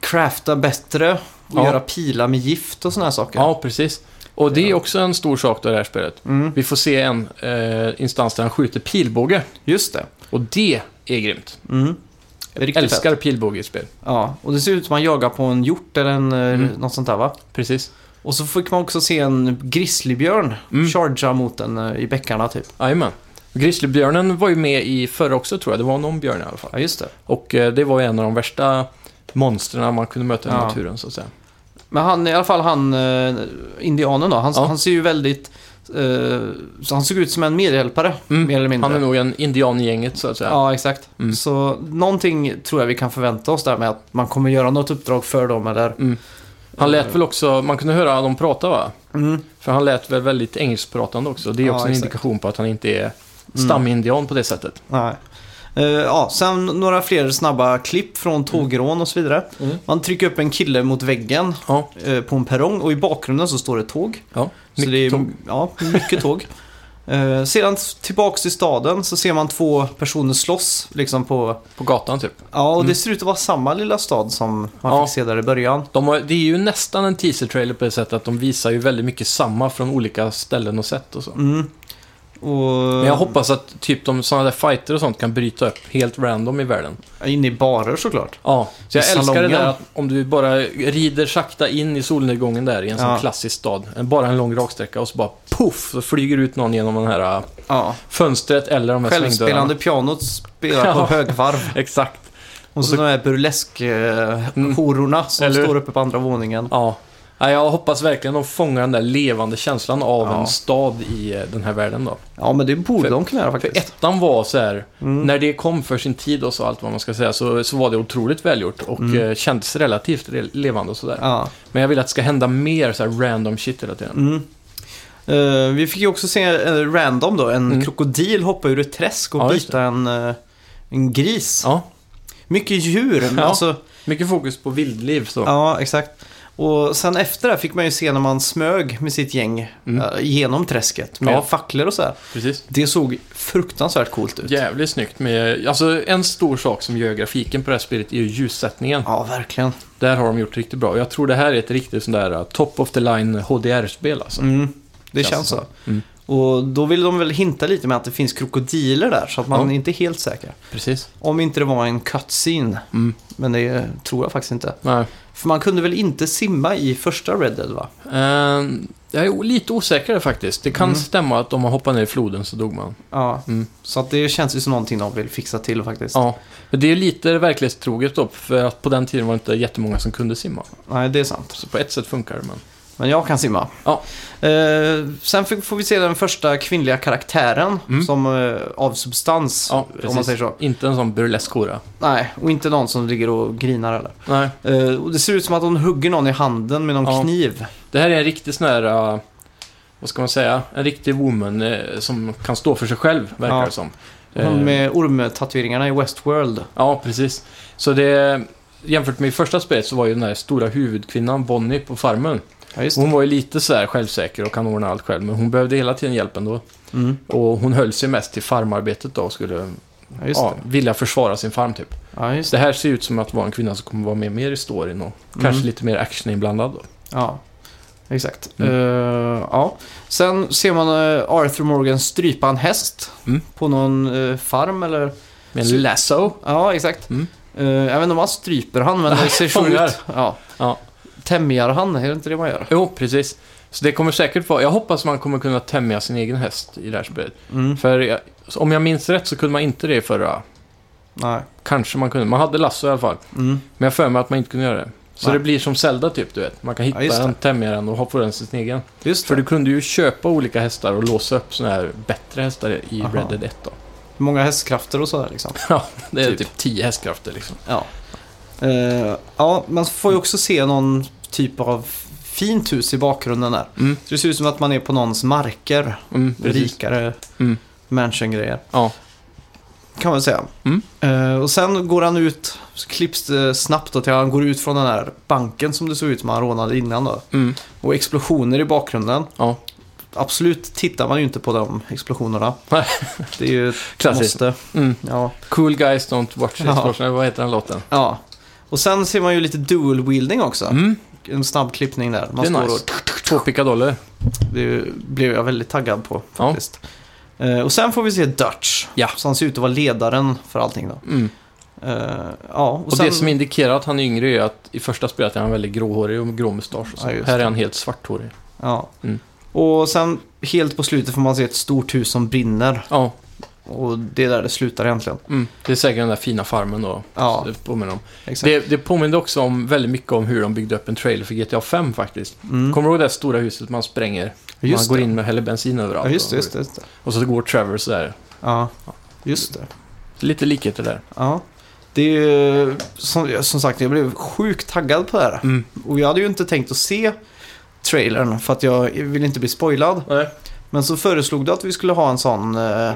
craftar bättre och
Ja.
göra pilar med gift och sådana här saker.
Ja, precis. Och det är
Ja.
också en stor sak då i det här spelet.
Mm,
Vi får se en eh, instans där han skjuter pilbåge.
just det.
Och det är grymt.
Mm. Det är riktigt
Älskar
fett.
pilbåge i spel.
Ja, och det ser ut som man jagar på en hjort eller en, eh,
Mm.
något sånt där va?
Precis.
Och så fick man också se en grizzlybjörn
Mm.
chargea mot en eh, i bäckarna typ.
Jajamän. Grizzlybjörnen var ju med i förra också tror jag. Det var någon björn i alla fall.
Ja, just det.
Och eh, det var ju en av de värsta monstren man kunde möta i
Ja.
naturen så att säga.
Men han, i alla fall han, eh, indianen då, han,
Ja.
han ser ju väldigt... Eh, så han såg ut som en medhjälpare,
Mm,
mer eller mindre.
Han är nog en indian i gänget så att säga.
Ja, exakt.
Mm.
Så någonting tror jag vi kan förvänta oss där med att man kommer göra något uppdrag för dem eller...
Han lät väl också, man kunde höra dem prata va?
Mm.
För han lät väl väldigt engelskpratande också. Det är
Ja,
också en
exakt. Mm.
indikation på att han inte är stamindian på det sättet.
Nej. Eh, ja, sen några fler snabba klipp från tågrån och så vidare.
Mm.
Man trycker upp en kille mot väggen
Ja,
eh, på en perrong och i bakgrunden så står det tåg.
ja.
Så det är,
Mycket
Ja, mycket tåg. Eh, sedan tillbaks till staden så ser man två personer slåss liksom på...
på gatan typ.
Ja, och det
Mm.
ser ut att vara samma lilla stad som man
Ja.
fick se där i början.
De har, det är ju nästan en teaser-trailer på det sättet att de visar ju väldigt mycket samma från olika ställen och sätt och så.
Mm. Och
Men jag hoppas att typ de sådana där fighter och sånt kan bryta upp helt random i världen.
inne i barer såklart.
Ja, så
I
jag älskar det
salongen.
där att om du bara rider sakta in i solnedgången där i en sån
Ja.
klassisk stad. en- Bara en lång raksträcka och så bara poff så flyger ut någon genom den här äh,
Ja.
fönstret eller de här
Självspelande
svängdörrarna.
pianot spelar på
Ja.
högvarv.
Exakt.
Och så de här
Mm.
burlesk-hororna som
Eller hur?
står uppe på andra våningen.
Ja. Ja, jag hoppas verkligen de fångar den där levande känslan av
Ja.
en stad i eh, den här världen då.
Ja, men det borde
För-
de kunna göra
För
faktiskt.
ettan var så här,
Mm.
när det kom för sin tid och så allt vad man ska säga, så, så var det otroligt välgjort och
Mm.
eh, kändes relativt re- levande och sådär.
Ja.
Men jag vill att det ska hända mer så här random shit hela tiden.
Mm. Eh, vi fick ju också se eh, random då, en
Mm.
krokodil hoppa ur ett träsk och
Ja, just
bita en, eh, en gris.
Ja,
Mycket djur, men
Ja.
alltså...
mycket fokus på vildliv så.
Ja, exakt. Och sen efter det här fick man ju se när man smög med sitt gäng
Mm.
eh, genom träsket med
Ja.
facklor och så här.
Precis.
Det såg fruktansvärt coolt ut.
Jävligt snyggt med, alltså en stor sak som gör grafiken på det här spelet är ju ljussättningen.
Ja, verkligen.
Där har de gjort riktigt bra. Jag tror det här är ett riktigt sånt där uh, top of the line HDR-spel alltså.
Mm. Det känns,
Känns
så.
det Mm.
Och då vill de väl hinta lite med att det finns krokodiler där, så att man
Ja.
inte är helt säker.
Precis.
Om inte det var en cutscene,
Mm.
men det tror jag faktiskt inte.
Nej.
För man kunde väl inte simma i första Red Dead va?
Ehm, jag är o- lite osäker där faktiskt. Det kan
Mm.
stämma att om man hoppar ner i floden så dog man.
Ja,
Mm.
så att det känns ju som någonting de vill fixa till faktiskt.
Ja, men det är lite verklighetstroget då, för att på den tiden var det inte jättemånga som kunde simma.
Nej, det är sant.
Så på ett sätt funkar det, men...
Men jag kan simma.
Ja.
Eh, sen fick- får vi se den första kvinnliga karaktären
Mm.
som eh, av substans,
Ja,
om man säger så.
Inte en sån burlesk hora.
Nej, och inte någon som ligger och grinar eller.
Nej.
Eh, och det ser ut som att hon hugger någon i handen med någon
Ja.
kniv.
Det här är en riktig sån här... äh, vad ska man säga? En riktig woman eh, som kan stå för sig själv, verkar
Ja.
det som.
Hon
Eh,
med ormtatueringarna i Westworld.
Ja, precis. Så det... Jämfört med i första spelet så var ju den här stora huvudkvinnan Bonnie på farmen.
Ja, just det.
Hon var ju lite så här självsäker och kan ordna allt själv, men hon behövde hela tiden hjälp ändå.
Mm.
Och hon höll sig mest till farmarbetet då och skulle
Ja, just
ja,
det.
vilja försvara sin farm typ.
Ja, just
Så
det.
det här ser ut som att vara en kvinna som kommer vara med mer i storyn och
Mm.
kanske lite mer action inblandad då.
Ja, exakt.
Mm.
Eh, ja. Sen ser man eh, Arthur Morgan strypa en häst
Mm.
på någon eh, farm eller...
Med en lasso.
Ja, exakt.
Mm.
Eh, jag vet inte om han stryper han, men det ser så
Fångar.
ut. Ja.
Ja.
Tämjar han, är det inte det man gör?
Jo, precis. Så det kommer säkert vara... Jag hoppas man kommer kunna tämja sin egen häst i det här spelet.
Mm.
För jag, om jag minns rätt så kunde man inte det i förra.
Nej.
Kanske man kunde. Man hade lasso i alla fall.
Mm.
Men jag har för mig att man inte kunde göra det. Så
Nej.
det blir som Zelda typ, du vet. Man kan hitta
Ja, just det.
en, tämja den och ha på den sin egen.
Just
För
det.
du kunde ju köpa olika hästar och låsa upp såna här bättre hästar i
Aha.
Red Dead 1 då.
Många hästkrafter och sådär liksom.
Det är
Typ.
typ 10 hästkrafter liksom.
Ja. Eh, ja, man får ju också se någon typ av fint hus i bakgrunden där.
Mm,
Så det ser ut som att man är på någons marker.
mm, precis.
rikare
Mm.
mansion-grejer.
Ja.
Kan man säga.
Mm.
Eh, och sen går han ut, så klipps det snabbt då till han går ut från den här banken som det såg ut som han rånade innan då.
Mm.
Och explosioner i bakgrunden.
Ja.
Absolut tittar man ju inte på de explosionerna.
Nej.
Det är ju ett
Klassiskt.
måste.
Mm.
Ja.
Cool guys don't watch
Ja.
this ja. Vad heter den låten?
ja. Och sen ser man ju lite dual-wielding också.
Mm.
En snabb klippning där. Man
Det är
står
nice. Två pickadoller.
och, det blev jag väldigt taggad på
Ja.
faktiskt. Eh, och sen får vi se Dutch.
Ja.
Som ser ut att vara ledaren för allting då.
Mm.
Eh, ja, och,
Och,
sen,
det som indikerar att han är yngre är att i första spelet är han väldigt gråhårig och med grå mustasch. Och så.
Ja, just
här
det.
är han helt svarthårig.
ja.
Mm.
och sen helt på slutet får man se ett stort hus som brinner.
Ja,
Och det är där det slutar egentligen.
mm. det är säkert den där fina farmen då.
Ja,
Det påminner om.
exakt.
Det, det påminner också om väldigt mycket om hur de byggde upp en trailer för GTA 5 faktiskt.
Mm.
Kommer du ihåg det här stora huset man spränger? man
Just
går
det.
in med häller bensin överallt.
Ja, just det,
och,
just det. Just det.
och så går Trevor sådär.
Ja, just det.
Lite likheter där.
Ja. Det är ju, som, som sagt, jag blev sjukt taggad på det här.
Mm.
Och jag hade ju inte tänkt att se trailern för att jag vill inte bli spoilad.
Nej.
Men så föreslog du att vi skulle ha en sån eh,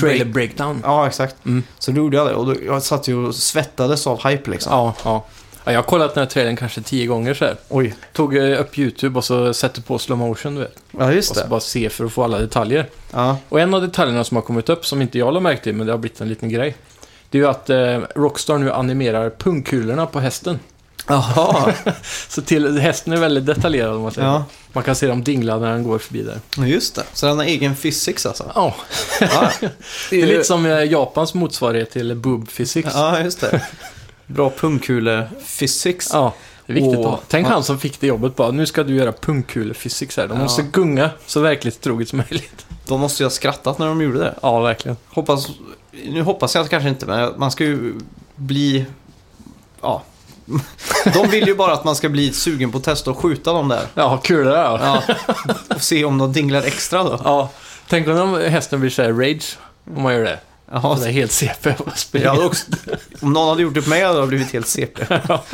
Trailer breakdown.
Ja, exakt.
Mm.
Så då gjorde jag det och då, jag satt ju och svettades av hype liksom.
Ja, ja. ja. Jag har kollat den här trailern kanske tio gånger så här.
Oj.
Tog eh, upp YouTube och så sätter på slow motion, du vet.
Ja, just
Och så
det.
bara se för att få alla detaljer.
Ja.
Och en av detaljerna som har kommit upp, som inte jag har märkt till, men det har blivit en liten grej. Det är ju att eh, Rockstar nu animerar pungkulorna på hästen.
Jaha.
Så till, hästen är väldigt detaljerad om man säger.
ja.
Man kan se dem dingla när den går förbi där.
Ja, just det. Så den har egen physics alltså.
Ja,
Ja,
det är lite som eh, Japans motsvarighet till Boob Physics. Ja,
Ja, just det. Bra pungkule-physics.
det är viktigt
Åh.
att ha. Tänk
Ja.
han som fick det jobbet bara, nu ska du göra pungkule-physics här. De
Ja.
måste gunga så verklighetstroget som möjligt.
De måste ju ha skrattat när de gjorde det.
Ja, verkligen.
Hoppas, nu hoppas jag kanske inte, men man ska ju bli... Ja. De vill ju bara att man ska bli sugen på att testa och skjuta dem där.
Ja, kulor ja. ja.
Ja. Och se om de dinglar extra då.
Tänk om hästen blir såhär rage, om man gör det.
Jaha.
Sådär helt CP och
Jag
springer.
hade också, om någon hade gjort det på mig hade jag blivit helt CP. Ja,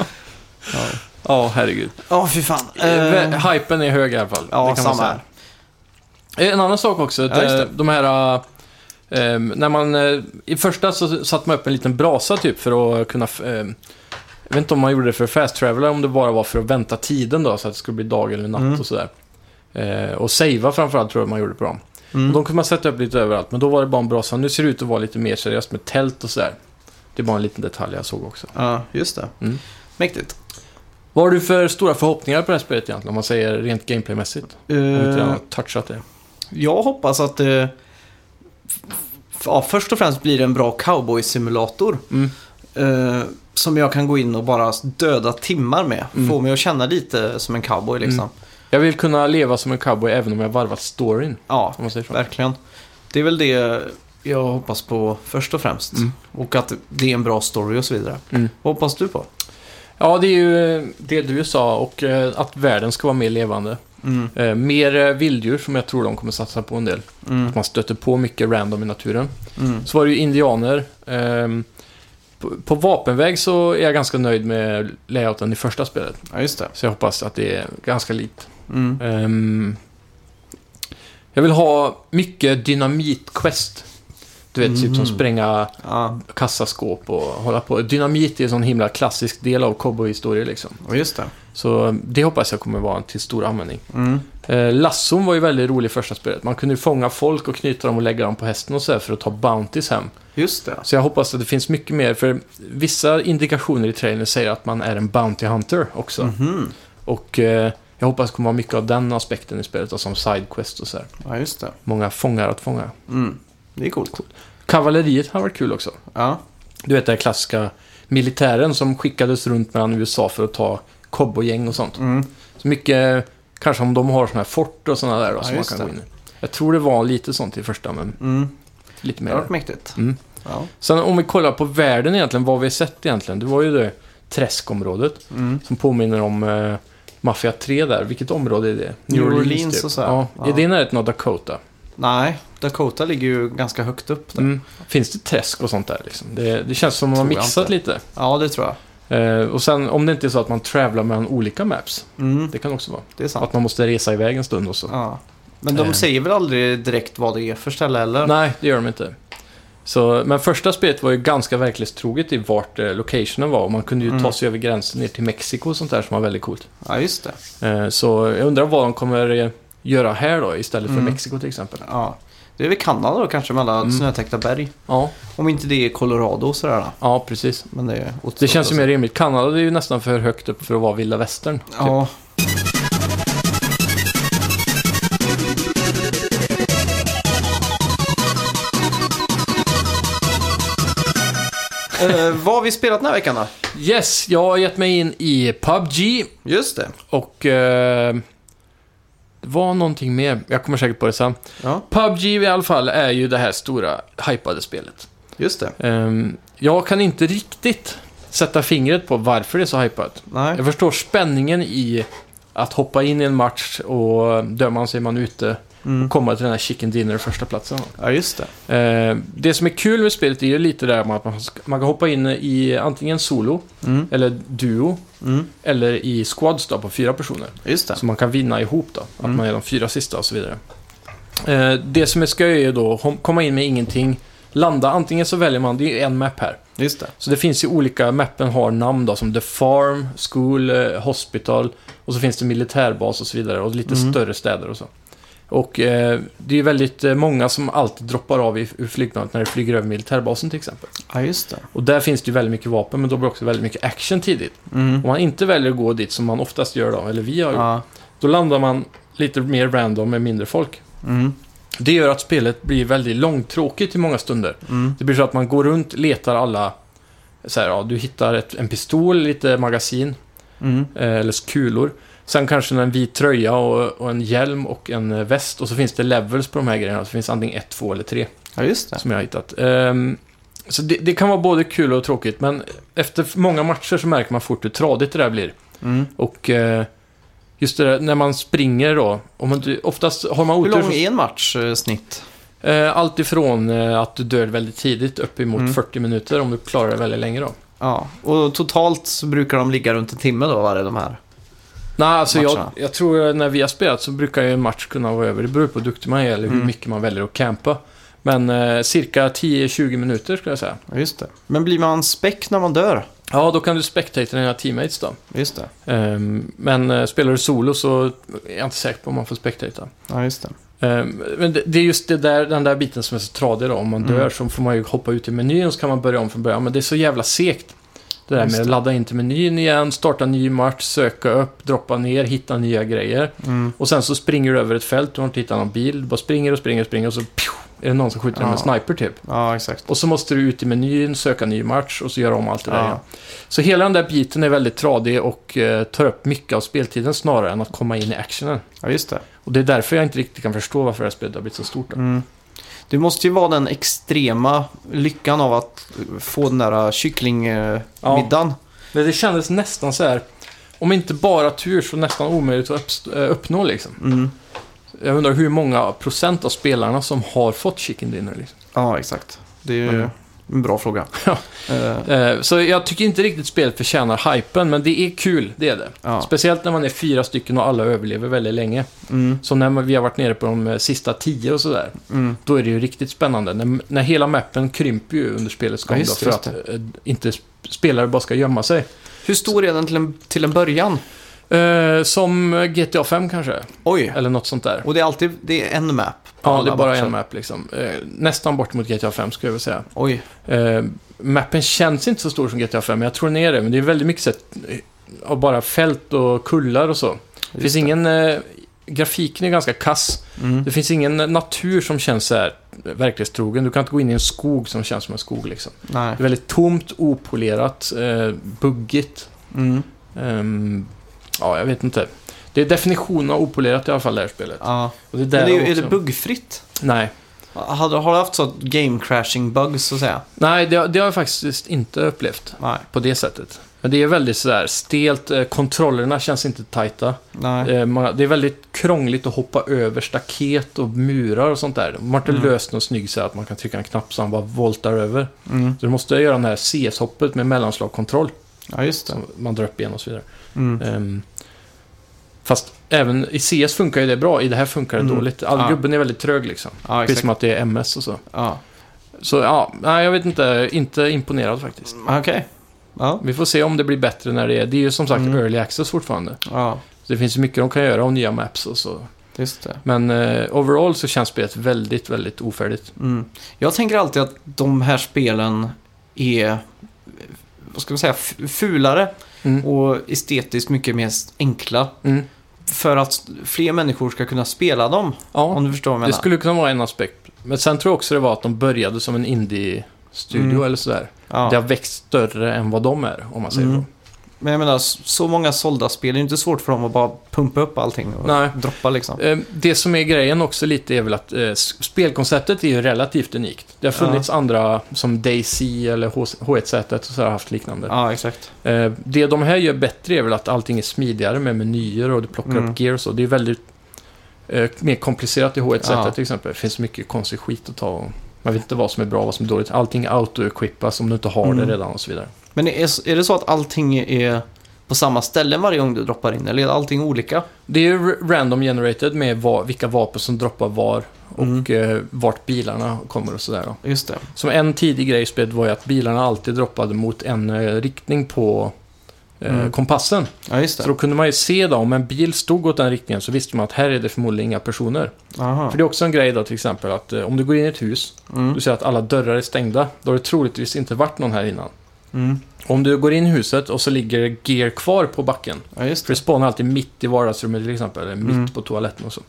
Ja, herregud.
ja fy fan.
Eh,
Eh,
hypen är hög i alla fall.
ja,
det kan man
samma
säga.
här.
Eh, En annan sak också,
Ja, just det.
de, de här... eh, när man, eh, I första så satte man upp en liten brasa typ för att kunna... eh, jag vet inte om man gjorde det för fast travel eller om det bara var för att vänta tiden då, så att det skulle bli dag eller natt
Mm.
och sådär. Eh, och savea framförallt tror jag man gjorde på dem. Och
Mm.
de kunde man sätta upp lite överallt, men då var det bara en brasa. Nu ser det ut att vara lite mer seriöst med tält och sådär. Det är bara en liten detalj jag såg också.
Ja, just det.
Mm.
Mäktigt.
Vad har du för stora förhoppningar på det här spelet egentligen, om man säger rent gameplaymässigt? Om inte jag har
Eh,
touchat det.
jag hoppas att det... f- Ja, först och främst blir det en bra cowboy-simulator.
Mm.
eh, som jag kan gå in och bara döda timmar med.
Mm.
Få mig att känna lite som en cowboy liksom.
Jag vill kunna leva som en cowboy även om jag varvat storyn.
Ja,
Om man säger så.
verkligen. Det är väl det jag hoppas på först och främst.
Mm.
Och att det är en bra story och så vidare.
Mm.
Vad hoppas du på?
Ja, det är ju eh, det du sa och eh, att världen ska vara mer levande.
Mm.
Eh, Mer eh, vilddjur som jag tror de kommer satsa på en del.
Mm.
Att man stöter på mycket random i naturen.
Mm.
Så var det ju indianer. Ehm, På, på vapenväg så är jag ganska nöjd med layouten i första spelet.
Ja, just det.
Så jag hoppas att det är ganska likt.
Mm.
Ehm, jag vill ha mycket dynamit-quest. Du vet, typ som
Mm.
spränga
Ja,
kassaskåp och hålla på. Dynamit är en sån himla klassisk del av cowboyhistorier liksom.
och just det.
Så eh, det hoppas jag kommer vara till stor användning.
Mm.
Eh, Lasson var ju väldigt rolig i första spelet. Man kunde ju fånga folk och knyta dem och lägga dem på hästen och sådär för att ta Bounties hem.
Just det. alltså.
Så jag hoppas att det finns mycket mer, för vissa indikationer i trailern säger att man är en Bounty Hunter också.
Mhm.
Och eh, jag hoppas det kommer vara mycket av den aspekten i spelet, alltså som sidequest och sådär.
Ja, just det.
Många fångar att fånga.
Mm. Det är coolt.
Kavalleriet har varit kul också.
Ja.
Du vet den här klassiska militären som skickades runt mellan USA för att ta cowboygäng och sånt.
Mm.
Så mycket, kanske om de har sådana här fort och sådana där då,
Ja,
som man
just
kan
det.
gå in i. Jag tror det var lite sånt i första, men
Mm.
lite
Det
mer.
har varit mäktigt.
Mm.
Ja.
Sen om vi kollar på världen egentligen, vad vi har sett egentligen. Det var ju det träskområdet
Mm.
som påminner om eh, Mafia 3 där. Vilket område är det? typ.
New Orleans och så här.
Ja,
Ja.
Är det i närheten av Dakota?
Nej, Dakota ligger ju ganska högt upp där.
Mm. Finns det träsk och sånt där liksom? Det, det känns som att man har
Tror jag
mixat
inte.
lite.
Ja, det tror jag.
Eh, och sen om det inte är så att man travlar mellan olika maps.
Mm.
Det kan också vara.
Det är sant.
Att man måste resa iväg en stund och så.
Ja. Men de
Eh.
säger väl aldrig direkt vad det är för ställe heller?
Nej, det gör de inte. Så, men första spelet var ju ganska verklighetstroget i vart eh, locationen var. Och man kunde ju
Mm.
ta sig över gränsen ner till Mexiko och sånt där som var väldigt coolt.
Ja, just det.
Eh, så jag undrar vad de kommer eh, göra här då istället för
Mm.
Mexiko till exempel.
Ja. Det är väl Kanada då kanske med alla
Mm.
snötäckta berg.
Ja,
Om inte det är Colorado och sådär. då.
ja precis.
Men det är otroligt.
Det känns ju mer rimligt. Kanada är ju nästan för högt upp för att vara vilda västern. typ.
Ja. Eh, vad har vi spelat den här veckan då?
Yes, jag har gett mig in i PubG
Just det.
och... Eh, det var någonting mer. Jag kommer säkert på det sen.
Ja,
PubG i alla fall är ju det här stora hypade spelet.
just det.
Ehm, jag kan inte riktigt sätta fingret på varför det är så hypat.
Nej.
Jag förstår spänningen i att hoppa in i en match och döma sig man ute
Mm.
och komma till den här chicken dinner första platsen.
Ja, just det.
Ehm, det som är kul med spelet är ju lite där med att man, ska- man kan hoppa in i antingen solo
Mm.
eller duo
Mm.
eller i squads då på fyra personer.
Just det.
Så man kan vinna ihop då, att
Mm.
man är de fyra sista och så vidare. Eh, det som är skoj är ju då hom- komma in med ingenting, landa. Antingen så väljer man, det är ju en map här.
Just det.
Så det finns ju olika, mappen har namn då som The Farm, School, eh, Hospital och så finns det militärbas och så vidare och lite
Mm.
större städer och så. Och eh, det är ju väldigt eh, många som alltid droppar av i, ur flygplanet när det flyger över militärbasen till exempel.
Ja, just det.
Och där finns det ju väldigt mycket vapen men då blir det också väldigt mycket action tidigt.
Mm.
Om man inte väljer att gå dit som man oftast gör då, eller vi har gjort,
Ja.
då landar man lite mer random med mindre folk.
Mm.
Det gör att spelet blir väldigt långtråkigt i många stunder.
Mm.
Det blir så att man går runt, letar alla... Så här, ja, du hittar ett, en pistol, lite magasin
Mm.
eh, eller kulor. Sen kanske en vit tröja och, och en hjälm och en eh, väst. Och så finns det levels på de här grejerna. Så finns antingen ett, två eller tre
Ja, just det.
som jag har hittat. Ehm, så det, det kan vara både kul och tråkigt, men efter många matcher så märker man fort hur tradigt det där blir.
Mm.
Och eh, just det där, när man springer då. Om man, du- oftast har man
Hur
otur
lång
så
är en match eh, snitt?
Eh, Allt ifrån eh, att du dör väldigt tidigt upp emot
Mm.
40 minuter om du klarar det väldigt länge då.
Ja, och totalt så brukar de ligga runt en timme då, var det de här?
Nej, alltså jag,
Matcherna.
jag tror när vi har spelat så brukar ju en match kunna vara över. Det beror på hur duktig man är eller hur
Mm.
mycket man väljer att campa. Men eh, cirka 10-20 minuter skulle jag säga.
Ja, just det. Men blir man späck när man dör?
Ja, då kan du spectata dina teammates då.
Just det.
Ehm, men eh, spelar du solo så är jag inte säker på om man får spectata.
Ja, just det.
Ehm, men det, det är just det där, den där biten som är så tradig då. Om man
Mm.
dör så får man ju hoppa ut i menyn och så kan man börja om från början. Men det är så jävla segt. Det där
Just
med att
det.
ladda in till menyn igen, starta en ny match, söka upp, droppa ner, hitta nya grejer.
Mm.
Och sen så springer du över ett fält, du har inte hittat någon bil, du bara springer och springer och springer och så pju, är det någon som skjuter dig med
Ja.
sniper typ.
Ja, exakt.
Och så måste du ut i menyn, söka ny match och så göra om allt det där
Ja.
igen. Så hela den där biten är väldigt tradig och eh, tar upp mycket av speltiden snarare än att komma in i actionen.
Ja, just det.
Och det är därför jag inte riktigt kan förstå varför det här spelet har blivit så stort. då.
Mm. Det måste ju vara den extrema lyckan av att få den där eh,
Ja.
kycklingmiddagen.
Men det kändes nästan så här, om inte bara tur så nästan omöjligt att uppst- eh, uppnå liksom.
Mm.
Jag undrar hur många procent av spelarna som har fått chicken dinner liksom.
Ja, exakt. Det är ju
Mm.
en bra fråga.
Ja.
Eh,
Eh, Så jag tycker inte riktigt spelet förtjänar hypen, men det är kul, det är det.
ja.
Speciellt när man är fyra stycken och alla överlever väldigt länge.
Mm.
Så när man- vi har varit nere på de eh, sista tio och sådär,
Mm.
då är det ju riktigt spännande. När, när hela mappen krymper ju under spelets gång
Ja,
då,
just det,
för att
just
eh, inte sp- spelare bara ska gömma sig.
Hur stor är den till en, till en början?
Eh, som eh, GTA 5 kanske,
Oj!
eller något sånt där.
Och det är alltid det är en map? på
Ja, det
alla
är bara
matcher.
en map liksom. Eh, nästan bort mot GTA 5 skulle jag vilja säga.
Oj.
Eh, mappen känns inte så stor som GTA 5, men jag tror den är det. Men det är väldigt mycket så att, eh, av bara fält och kullar och så. Det finns ingen... Eh, grafiken är ganska kass.
Mm.
Det finns ingen natur som känns så här eh, verklighetstrogen. Du kan inte gå in i en skog som känns som en skog liksom.
Nej.
Det är väldigt tomt, opolerat, eh, buggigt.
Mm.
Ehm, ja, jag vet inte. Det är definitionen av opolerat i alla fall det här spelet.
Ja.
Och det är,
Men
där
det är, ju- är
också-
det buggfritt?
Nej.
Har, har du haft så game crashing bugs så att säga?
Nej, det, det har jag faktiskt inte upplevt
Nej.
på det sättet. Men det är väldigt sådär stelt, eh, kontrollerna känns inte tajta.
Nej.
Eh, man- Det är väldigt krångligt att hoppa över staket och murar och sånt där. De har inte
Mm.
löst någon snygg så här att man kan trycka en knapp så han bara voltar över.
Mm.
Så du måste göra den här CS-hoppet med mellanslagkontroll.
Ja, just det.
Som man drar upp igen och så vidare.
Mm.
Ehm, fast även i CS funkar ju det bra, i det här funkar det
Mm.
dåligt. All
Ja.
gubben är väldigt trög liksom.
Ja,
Precis
exakt.
som att det är MS och så.
Ja.
Så ja, nej, jag vet inte. Inte imponerad faktiskt.
Okej. Ja.
Vi får se om det blir bättre när det är... Det är ju som sagt
Mm.
early access fortfarande.
ja,
Så det finns ju mycket de kan göra av nya maps och så.
just det.
Men eh, overall så känns spelet väldigt, väldigt ofärdigt.
Mm. Jag tänker alltid att de här spelen är, vad ska man säga, f- fulare
Mm.
och estetiskt mycket mer enkla.
Mm.
För att fler människor ska kunna spela dem,
Ja,
om du förstår vad jag
det
menar.
skulle kunna vara en aspekt. Men sen tror jag också det var att de började som en indie-studio
Mm.
eller sådär.
Ja.
Det har växt större än vad de är, om man säger
Mm.
så.
Men jag menar, s- så många sålda spel, det är inte svårt för dem att bara pumpa upp allting och
Nej.
droppa liksom.
Eh, Det som är grejen också lite är väl att eh, s- spelkonceptet är ju relativt unikt. Det har funnits andra som DayZ eller H- H1Z och så har haft liknande.
Ja, exakt.
Eh, Det de här gör bättre är väl att allting är smidigare med menyer och du plockar
Mm.
upp gear och så. Det är väldigt eh, mer komplicerat i H1Z
Ja.
till exempel. Det finns mycket konstig skit att ta och man vet inte vad som är bra och vad som är dåligt. Allting auto-equippas om du inte har
Mm.
det redan och så vidare.
Men är, är det så att allting är på samma ställe varje gång du droppar in, eller är allting olika?
Det är ju r- random generated med va- vilka vapen som droppar var
Mm.
och eh, vart bilarna kommer och sådär. Då.
Just det.
Som en tidig grej i spelet var ju att bilarna alltid droppade mot en eh, riktning på eh,
Mm.
kompassen.
Ja, just
Så
det.
då kunde man ju se då, om en bil stod åt den riktningen så visste man att här är det förmodligen inga personer.
Aha.
För det är också en grej då till exempel att eh, om du går in i ett hus,
Mm.
du ser att alla dörrar är stängda, då har det troligtvis inte varit någon här innan.
Mm.
Om du går in i huset och så ligger gear kvar på backen,
Ja, just
för det
det.
spånar alltid mitt i vardagsrummet till exempel, eller mitt
Mm.
på toaletten och så.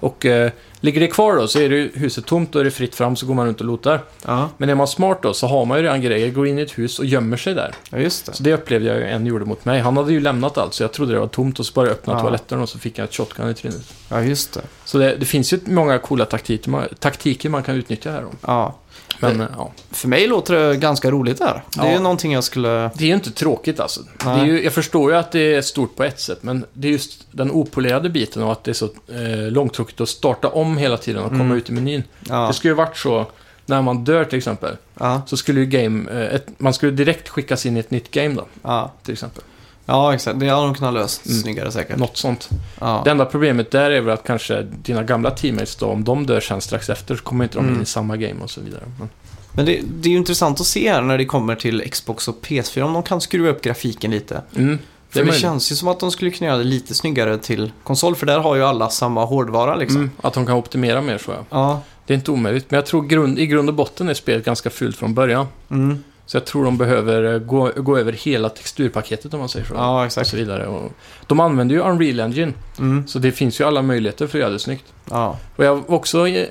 Och eh, ligger det kvar då så är det ju huset tomt och är det fritt fram så går man runt och lotar.
Ja,
Men är man smart då så har man ju redan grejer, går in i ett hus och gömmer sig där.
ja, just det.
Så det upplevde jag ju en gjorde mot mig. Han hade ju lämnat allt så jag trodde det var tomt och så bara öppnade
Ja.
toaletten och så fick jag ett shotgun i trynet.
Ja, just det.
Så det, det finns ju många coola taktiker man, taktiker man kan utnyttja här då.
Ja.
Men eh, ja,
För mig låter det ganska roligt där. Det är
Ja.
ju någonting jag skulle...
det är ju inte tråkigt alltså. Det är
Nej.
ju, jag förstår ju att det är stort på ett sätt men det är just den opolerade biten och att det är så eh, långtråkigt att starta om hela tiden och komma
Mm.
ut i menyn.
Ja.
Det skulle ju varit så när man dör till exempel.
Ja,
Så skulle ju game, eh, ett, man skulle direkt skickas in i ett nytt game då
ja.
till exempel.
ja exakt. Det hade de kunnat löst
Mm.
snyggare säkert.
Något sånt.
Ja.
Det enda problemet där är väl att kanske dina gamla teammates då, om de dör sen strax efter så kommer inte de in
Mm.
i samma game och så vidare. Men,
Men det, det är ju intressant att se här när det kommer till Xbox och PS4 om de kan skruva upp grafiken lite.
mm,
För
är
det,
möjligt.
känns ju som att de skulle kunna göra det lite snyggare till konsol, för där har ju alla samma hårdvara liksom.
mm, att de kan optimera mer så ja.
Ja,
Det är inte omöjligt, men jag tror grund, i grund och botten är spelet ganska fult från början.
mm.
Så jag tror de behöver eh, gå, gå över hela texturpaketet om man säger så.
ja
och
exakt.
så vidare. Och de använder ju Unreal Engine,
Mm.
så det finns ju alla möjligheter för att göra det snyggt.
Ja.
Och jag var också... eh,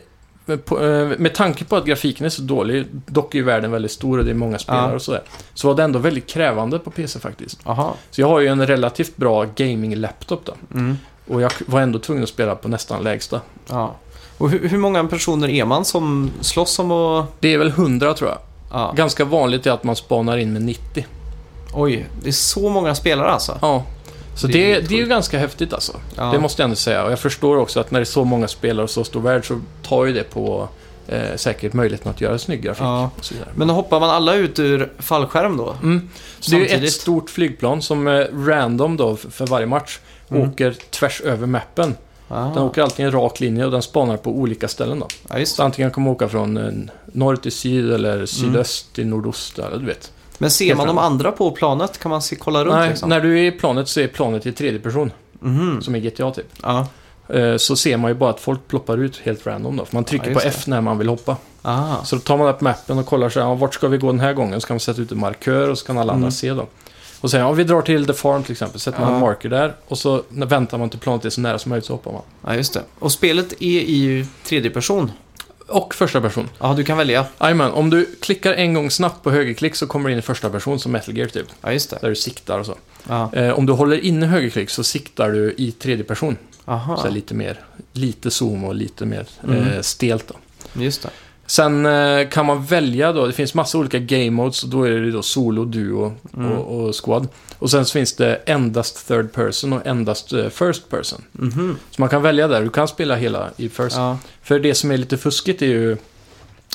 med- på- eh, Med tanke på att grafiken är så dålig, dock är ju världen väldigt stor och det är många spelare
Ja.
och sådär, så var det ändå väldigt krävande på PC faktiskt.
Aha.
Så jag har ju en relativt bra gaming-laptop då.
Mm.
Och jag var ändå tvungen att spela på nästan lägsta.
Ja. Och hur, hur många personer är man som slåss om att...
Det är väl 100 tror jag.
Ja.
Ganska vanligt är att man spanar in med 90.
Oj, det är så många spelare alltså.
Ja. Så det,
Det är
det,
helt
är ju
sjukt.
ganska häftigt alltså.
Ja.
Det måste jag ändå säga. Och jag förstår också att när det är så många spelare och så stor värld så tar ju det på eh, säkert möjligheten att göra snygg grafik.
Ja.
Och så vidare.
Men då hoppar man alla ut ur fallskärm då?
Mm. Så det är ju ett
Samtidigt.
stort flygplan som eh, random då f- för varje match
Mm.
åker tvärs över mappen.
Ah.
Den åker alltid i en rak linje och den spanar på olika ställen då.
Ja, just
Så
det.
antingen kan man åka från eh, norr till syd eller
Mm.
sydöst till nordost, eller du vet.
Men ser man de andra på planet? Kan man se, kolla runt
Nej,
liksom?
När du är i planet så är planet i tredje person,
Mhm.
som i GTA typ.
Ja.
Eh, Så ser man ju bara att folk ploppar ut helt random då, för man trycker
Ja,
på
just
F när man vill hoppa.
Ah.
Så då tar man upp mappen och kollar så här, ja, vart ska vi gå den här gången? Så kan man sätta ut en markör och så kan alla andra
Mm.
se då. Och sen, ja, vi drar till The Farm till exempel, sätter man
Ja.
en marker där och så när- väntar man till planet är så nära som möjligt så hoppar man.
ja, just det. Och spelet är i tredje person.
Och första person.
Ja, du kan välja.
Jajamän, om du klickar en gång snabbt på högerklick så kommer det in i första person som Metal Gear typ.
Ja, just det.
Där du siktar och så.
Ja.
Eh, om du håller inne högerklick så siktar du i tredje person. Så här
Aha,
lite mer, lite zoom och lite mer eh,
Mm.
stelt då.
just det.
Sen eh, kan man välja då, det finns massa olika game modes och då är det då solo, duo
Mm.
och, och squad. Och sen så finns det endast third person och endast eh, first person.
Mhm.
Så man kan välja där, du kan spela hela i first.
Ja.
För det som är lite fuskigt är ju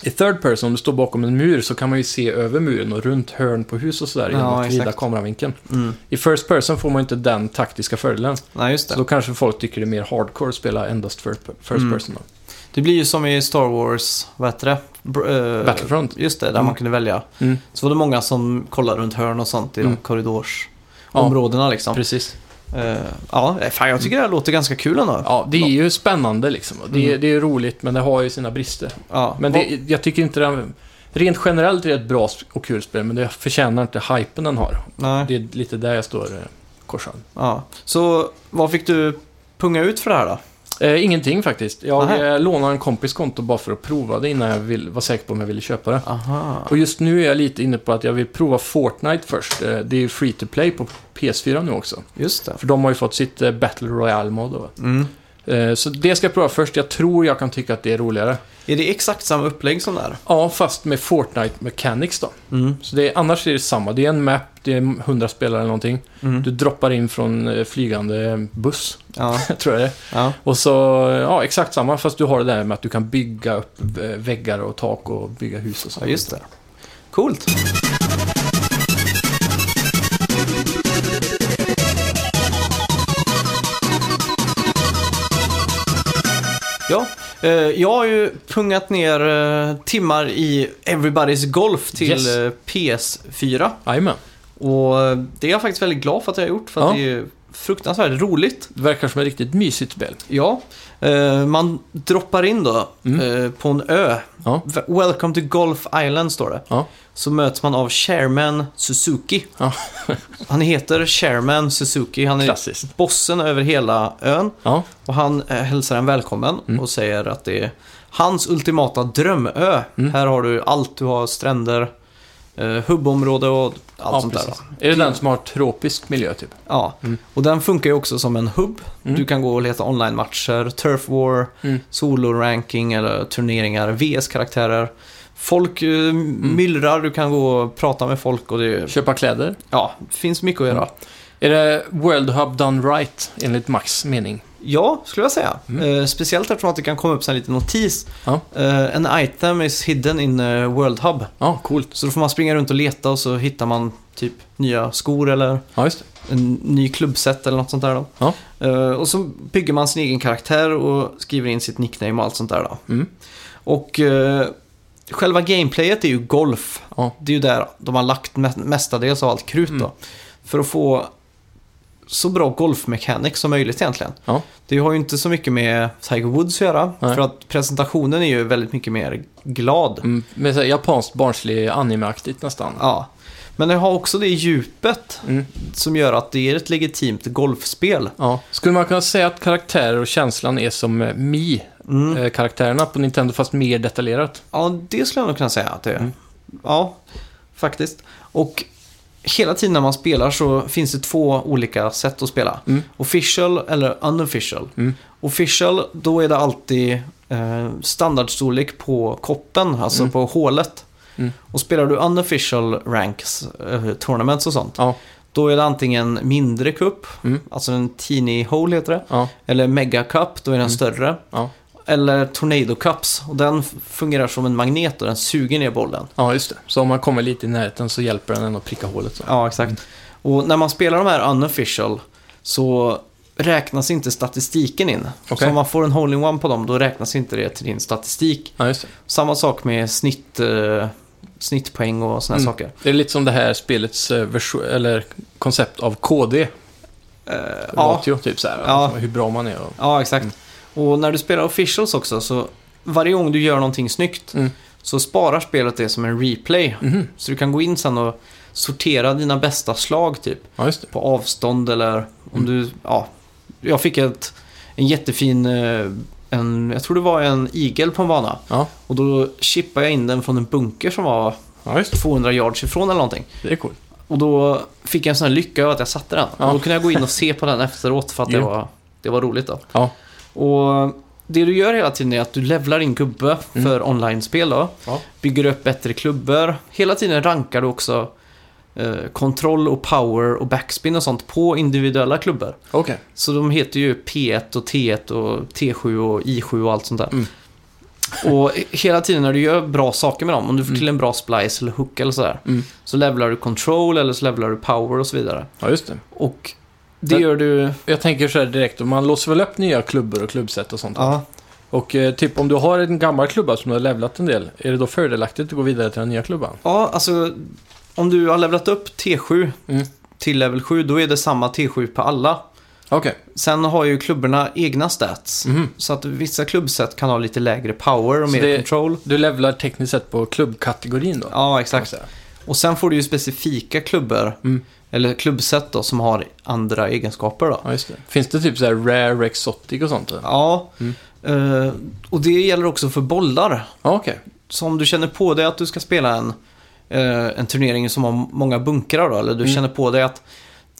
i third person, om du står bakom en mur så kan man ju se över muren och runt hörn på hus och sådär genom
Ja,
att vrida
exakt.
kameravinkeln.
Mm.
I first person får man inte den taktiska fördelen.
Nej, just
Så
det.
då kanske folk tycker det är mer hardcore att spela endast first, first
Mm.
person. Då.
Det blir ju som i Star Wars, vad heter det? Br- eh,
Battlefront.
Just det, där
Mm.
man kunde välja.
Mm.
Så var det många som kollade runt hörn och sånt i
Mm.
de korridorsområdena
Ja,
liksom.
precis.
Eh, ja, eh, fan jag tycker det här låter ganska kul ändå.
Ja, det är ju spännande liksom. Och Det, är,
Mm.
det är roligt, men det har ju sina brister.
Ja,
Men det, jag tycker inte den... Rent generellt är det ett bra och kul spel, men det förtjänar inte hypen den har.
nej,
Det är lite där jag står eh, korsad.
ja. Så vad fick du punga ut för det här då?
Eh, ingenting faktiskt. Jag
Nähä.
eh, lånade en kompis konto bara för att prova det innan jag vill, var säker på om jag ville köpa det.
Aha.
Och just nu är jag lite inne på att jag vill prova Fortnite först. Eh, Det är ju free to play på PS4 nu också.
Just det.
För de har ju fått sitt eh, Battle Royale-mod. då, va?
Mm.
Eh, Så det ska jag prova först. Jag tror jag kan tycka att det är roligare.
Är det exakt samma upplägg som det här?
Ja, fast med Fortnite Mechanics då.
Mm.
Så det är, annars är det samma. Det är en map, det är 100 spelare eller någonting.
Mm.
Du droppar in från eh, flygande buss,
Ja,
tror jag det är.
ja.
Och så, eh, ja, exakt samma. Fast du har det där med att du kan bygga upp eh, väggar och tak och bygga hus och så.
ja, just det. Coolt. Ja, Eh, jag har ju pungat ner eh, timmar i Everybody's Golf till
Yes.
eh, PS4.
Jajamän.
Och eh, det är jag faktiskt väldigt glad för att jag har gjort, för att
Ja.
det är fruktansvärt roligt.
Det verkar som ett riktigt mysigt spel.
Ja, eh, man droppar in då eh, på en ö.
Ja.
V- Welcome to Golf Island står det.
Ja.
Så möts man av Chairman Suzuki.
Ja.
han heter Chairman Suzuki. Han är
Klassiskt.
bossen över hela ön.
Ja.
Och han eh, hälsar en välkommen
Mm.
och säger att det är hans ultimata drömö.
Mm.
Här har du allt. Du har stränder, eh, hubbområde och allt sånt där. va?
Är det den som har tropisk miljö, typ?
Ja, och den funkar ju också som en hubb. Du kan gå och leta online-matcher, Turf War,
Mm.
solo-ranking eller turneringar, VS-karaktärer. Folk eh,
Mm.
myllrar, du kan gå och prata med folk och det
Köpa kläder?
ja, det finns mycket att
Mm.
göra.
Är det World Hub done right, enligt Max mening?
Ja, skulle jag säga. Eh, speciellt eftersom att det kan komma upp så här en liten notis.
Mm. Ja.
Eh, an item is hidden in eh, World Hub.
Ja, coolt.
Så då får man springa runt och leta och så hittar man typ nya skor eller
Ja, just det.
en ny klubbset eller något sånt där då.
Ja.
Eh, och så bygger man sin egen karaktär och skriver in sitt nickname och allt sånt där då.
Mm.
Och eh, själva gameplayet är ju golf.
Ja.
Det är ju där de har lagt me- mestadels av allt krut
Mm.
då. För att få så bra golfmekanik som möjligt egentligen.
Ja.
Det har ju inte så mycket med Tiger Woods att göra.
Nej.
För att presentationen är ju väldigt mycket mer glad.
Mm, med så här japanskt barnslig animeaktigt nästan.
Ja. Men det har också det djupet
Mm.
som gör att det är ett legitimt golfspel.
Ja. Skulle man kunna säga att karaktärer och känslan är som eh,
Mm.
Mi-karaktärerna på Nintendo, fast mer detaljerat?
Ja, det skulle jag nog kunna säga att det är.
Mm.
Ja, faktiskt. Och hela tiden när man spelar så finns det två olika sätt att spela.
Mm.
Official eller unofficial.
Mm.
Official, då är det alltid eh, standardstorlek på koppen, alltså på hålet.
Mm.
Och spelar du unofficial ranks, eh, tournaments och sånt,
Ja.
då är det antingen mindre cup,
Mm.
alltså en teeny hole heter det,
Ja.
eller mega cup, då är den
Mm.
större.
Ja.
Eller Tornado Cups. Och den f- fungerar som en magnet och den suger ner bollen.
ja, just det. Så om man kommer lite i närheten så hjälper den en att pricka hålet. Så.
Ja, exakt. Och när man spelar de här unofficial så räknas inte statistiken in. Så
Okej.
om man får en hole-in-one på dem, då räknas inte det till din statistik.
Ja, just det.
Samma sak med snitt, eh, snittpoäng och sådana här
Mm.
saker.
Det är lite som det här spelets eh, version, eller koncept av KD.
Eh, ja.
Ratio, typ så här.
Ja.
Hur bra man är och...
Ja, exakt. Och när du spelar officials också, så varje gång du gör någonting snyggt
Mm.
så sparar spelet det som en replay.
Mhm.
Så du kan gå in sen och sortera dina bästa slag typ.
Ja, just det.
på avstånd eller om du, ja. Jag fick ett, en jättefin, eh, en, jag tror det var en igel på en bana.
Ja,
Och då chippade jag in den från en bunker som var
ja just det.
200 yards ifrån eller någonting.
Det är coolt.
Och då fick jag en sån här lycka över att jag satte den.
Ja.
Och då kunde jag gå in och se på den efteråt för att det
Jo.
var, det var roligt då.
Ja.
Och det du gör hela tiden är att du levlar din gubbe för online-spel då.
Mm. Ja.
Bygger upp bättre klubbor. Hela tiden rankar du också eh, kontroll och power och backspin och sånt på individuella klubbor.
Okej.
Så de heter ju P1 och T1 och T7 och I7 och allt sånt där.
Mm.
och hela tiden när du gör bra saker med dem, om du får till en bra splice eller hook eller sådär,
Mm.
så levlar du control eller så levlar du power och så vidare.
Ja, just det.
Och det
Men-
gör du...
Jag tänker så här direkt, om man låser väl upp nya klubbor och klubbsätt och sånt. Och eh, typ om du har en gammal klubba som du har levlat en del, är det då fördelaktigt att gå vidare till den nya klubban?
Ja, alltså om du har levlat upp T7
Mm.
till level 7, då är det samma T7 på alla.
Okej.
Sen har ju klubborna egna stats.
Mhm.
Så att vissa klubbset kan ha lite lägre power och
Så
mer
det-
control.
Du levlar tekniskt sett på klubbkategorin då?
Ja,
kan man
exakt.
säga.
Och sen får du ju specifika klubbor,
Mm.
eller klubbset då, som har andra egenskaper då.
Ja, just det. Finns det typ så här rare, exotic och sånt? eller?
Ja,
Mm.
eh, och det gäller också för bollar.
Ja, okej.
Så om du känner på dig att du ska spela en, eh, en turnering som har många bunkrar då, eller du
Mm.
känner på dig att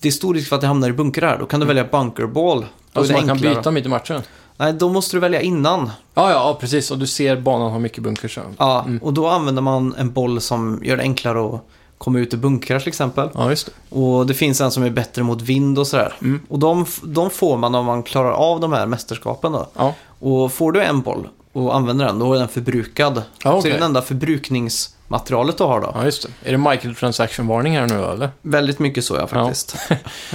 det är stor risk för att det hamnar i bunkrar, då kan du välja bunkerball. Då
Ja, så
är
Alltså, man
det
kan
enklare.
byta mitt i matchen?
Nej, då måste du välja innan.
Ja, ja, ja, precis. Och du ser banan har mycket bunkers. Ja,
Ja, Och då använder man en boll som gör det enklare att komma ut i bunkrar till exempel.
ja just det.
Och det finns en som är bättre mot vind och sådär.
Mm.
Och de, f- de får man om man klarar av de här mästerskapen då.
Ja.
Och får du en boll och använder den, då är den förbrukad.
Ja,
Så det
okej.
är det enda förbrukningsmaterialet du har då.
ja, just det. Är det microtransaction-varning här nu eller?
Väldigt mycket så ja, faktiskt.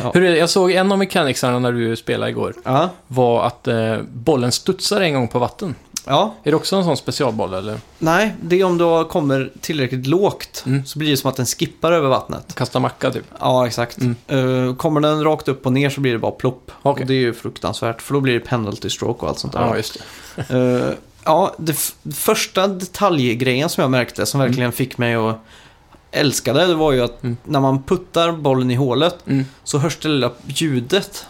Ja.
Hur är det? Jag såg en av mechanicsarna när du spelade igår
ja.
var att eh, bollen studsar en gång på vatten.
Ja,
Är det också en sån specialboll eller?
nej, det är om du kommer tillräckligt lågt
Mm.
så blir det som att den skippar över vattnet.
Kasta macka typ?
Ja, exakt.
Mm.
Eh, kommer den rakt upp och ner så blir det bara plopp.
Okej.
Och det är ju fruktansvärt, för då blir det penalty stroke och allt sånt där.
Ja, just det.
Eh, ja, det f- första detaljgrejen som jag märkte som verkligen fick mig att älska det, det var ju att
Mm.
när man puttar bollen i hålet
Mm.
så hörs det lilla ljudet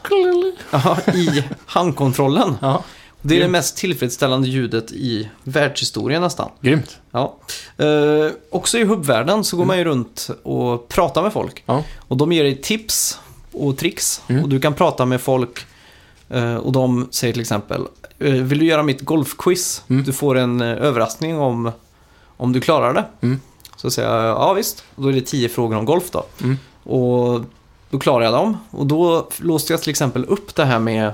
ja, i handkontrollen.
Ja,
Det är det
Grymt.
mest tillfredsställande ljudet i världshistorien nästan.
grymt.
Ja. Eh, också i hubbvärlden så går man ju runt och pratar med folk.
Mm. Ja.
Och de ger dig tips och tricks.
Mm.
Och du kan prata med folk eh, och de säger till exempel eh, Vill du göra mitt golfquiz?
Mm.
Du får en eh, överraskning om, om du klarar det.
Mm.
Så säger jag ja visst. Och då är det tio frågor om golf då.
Mm.
Och då klarar jag dem. Och då låste jag till exempel upp det här med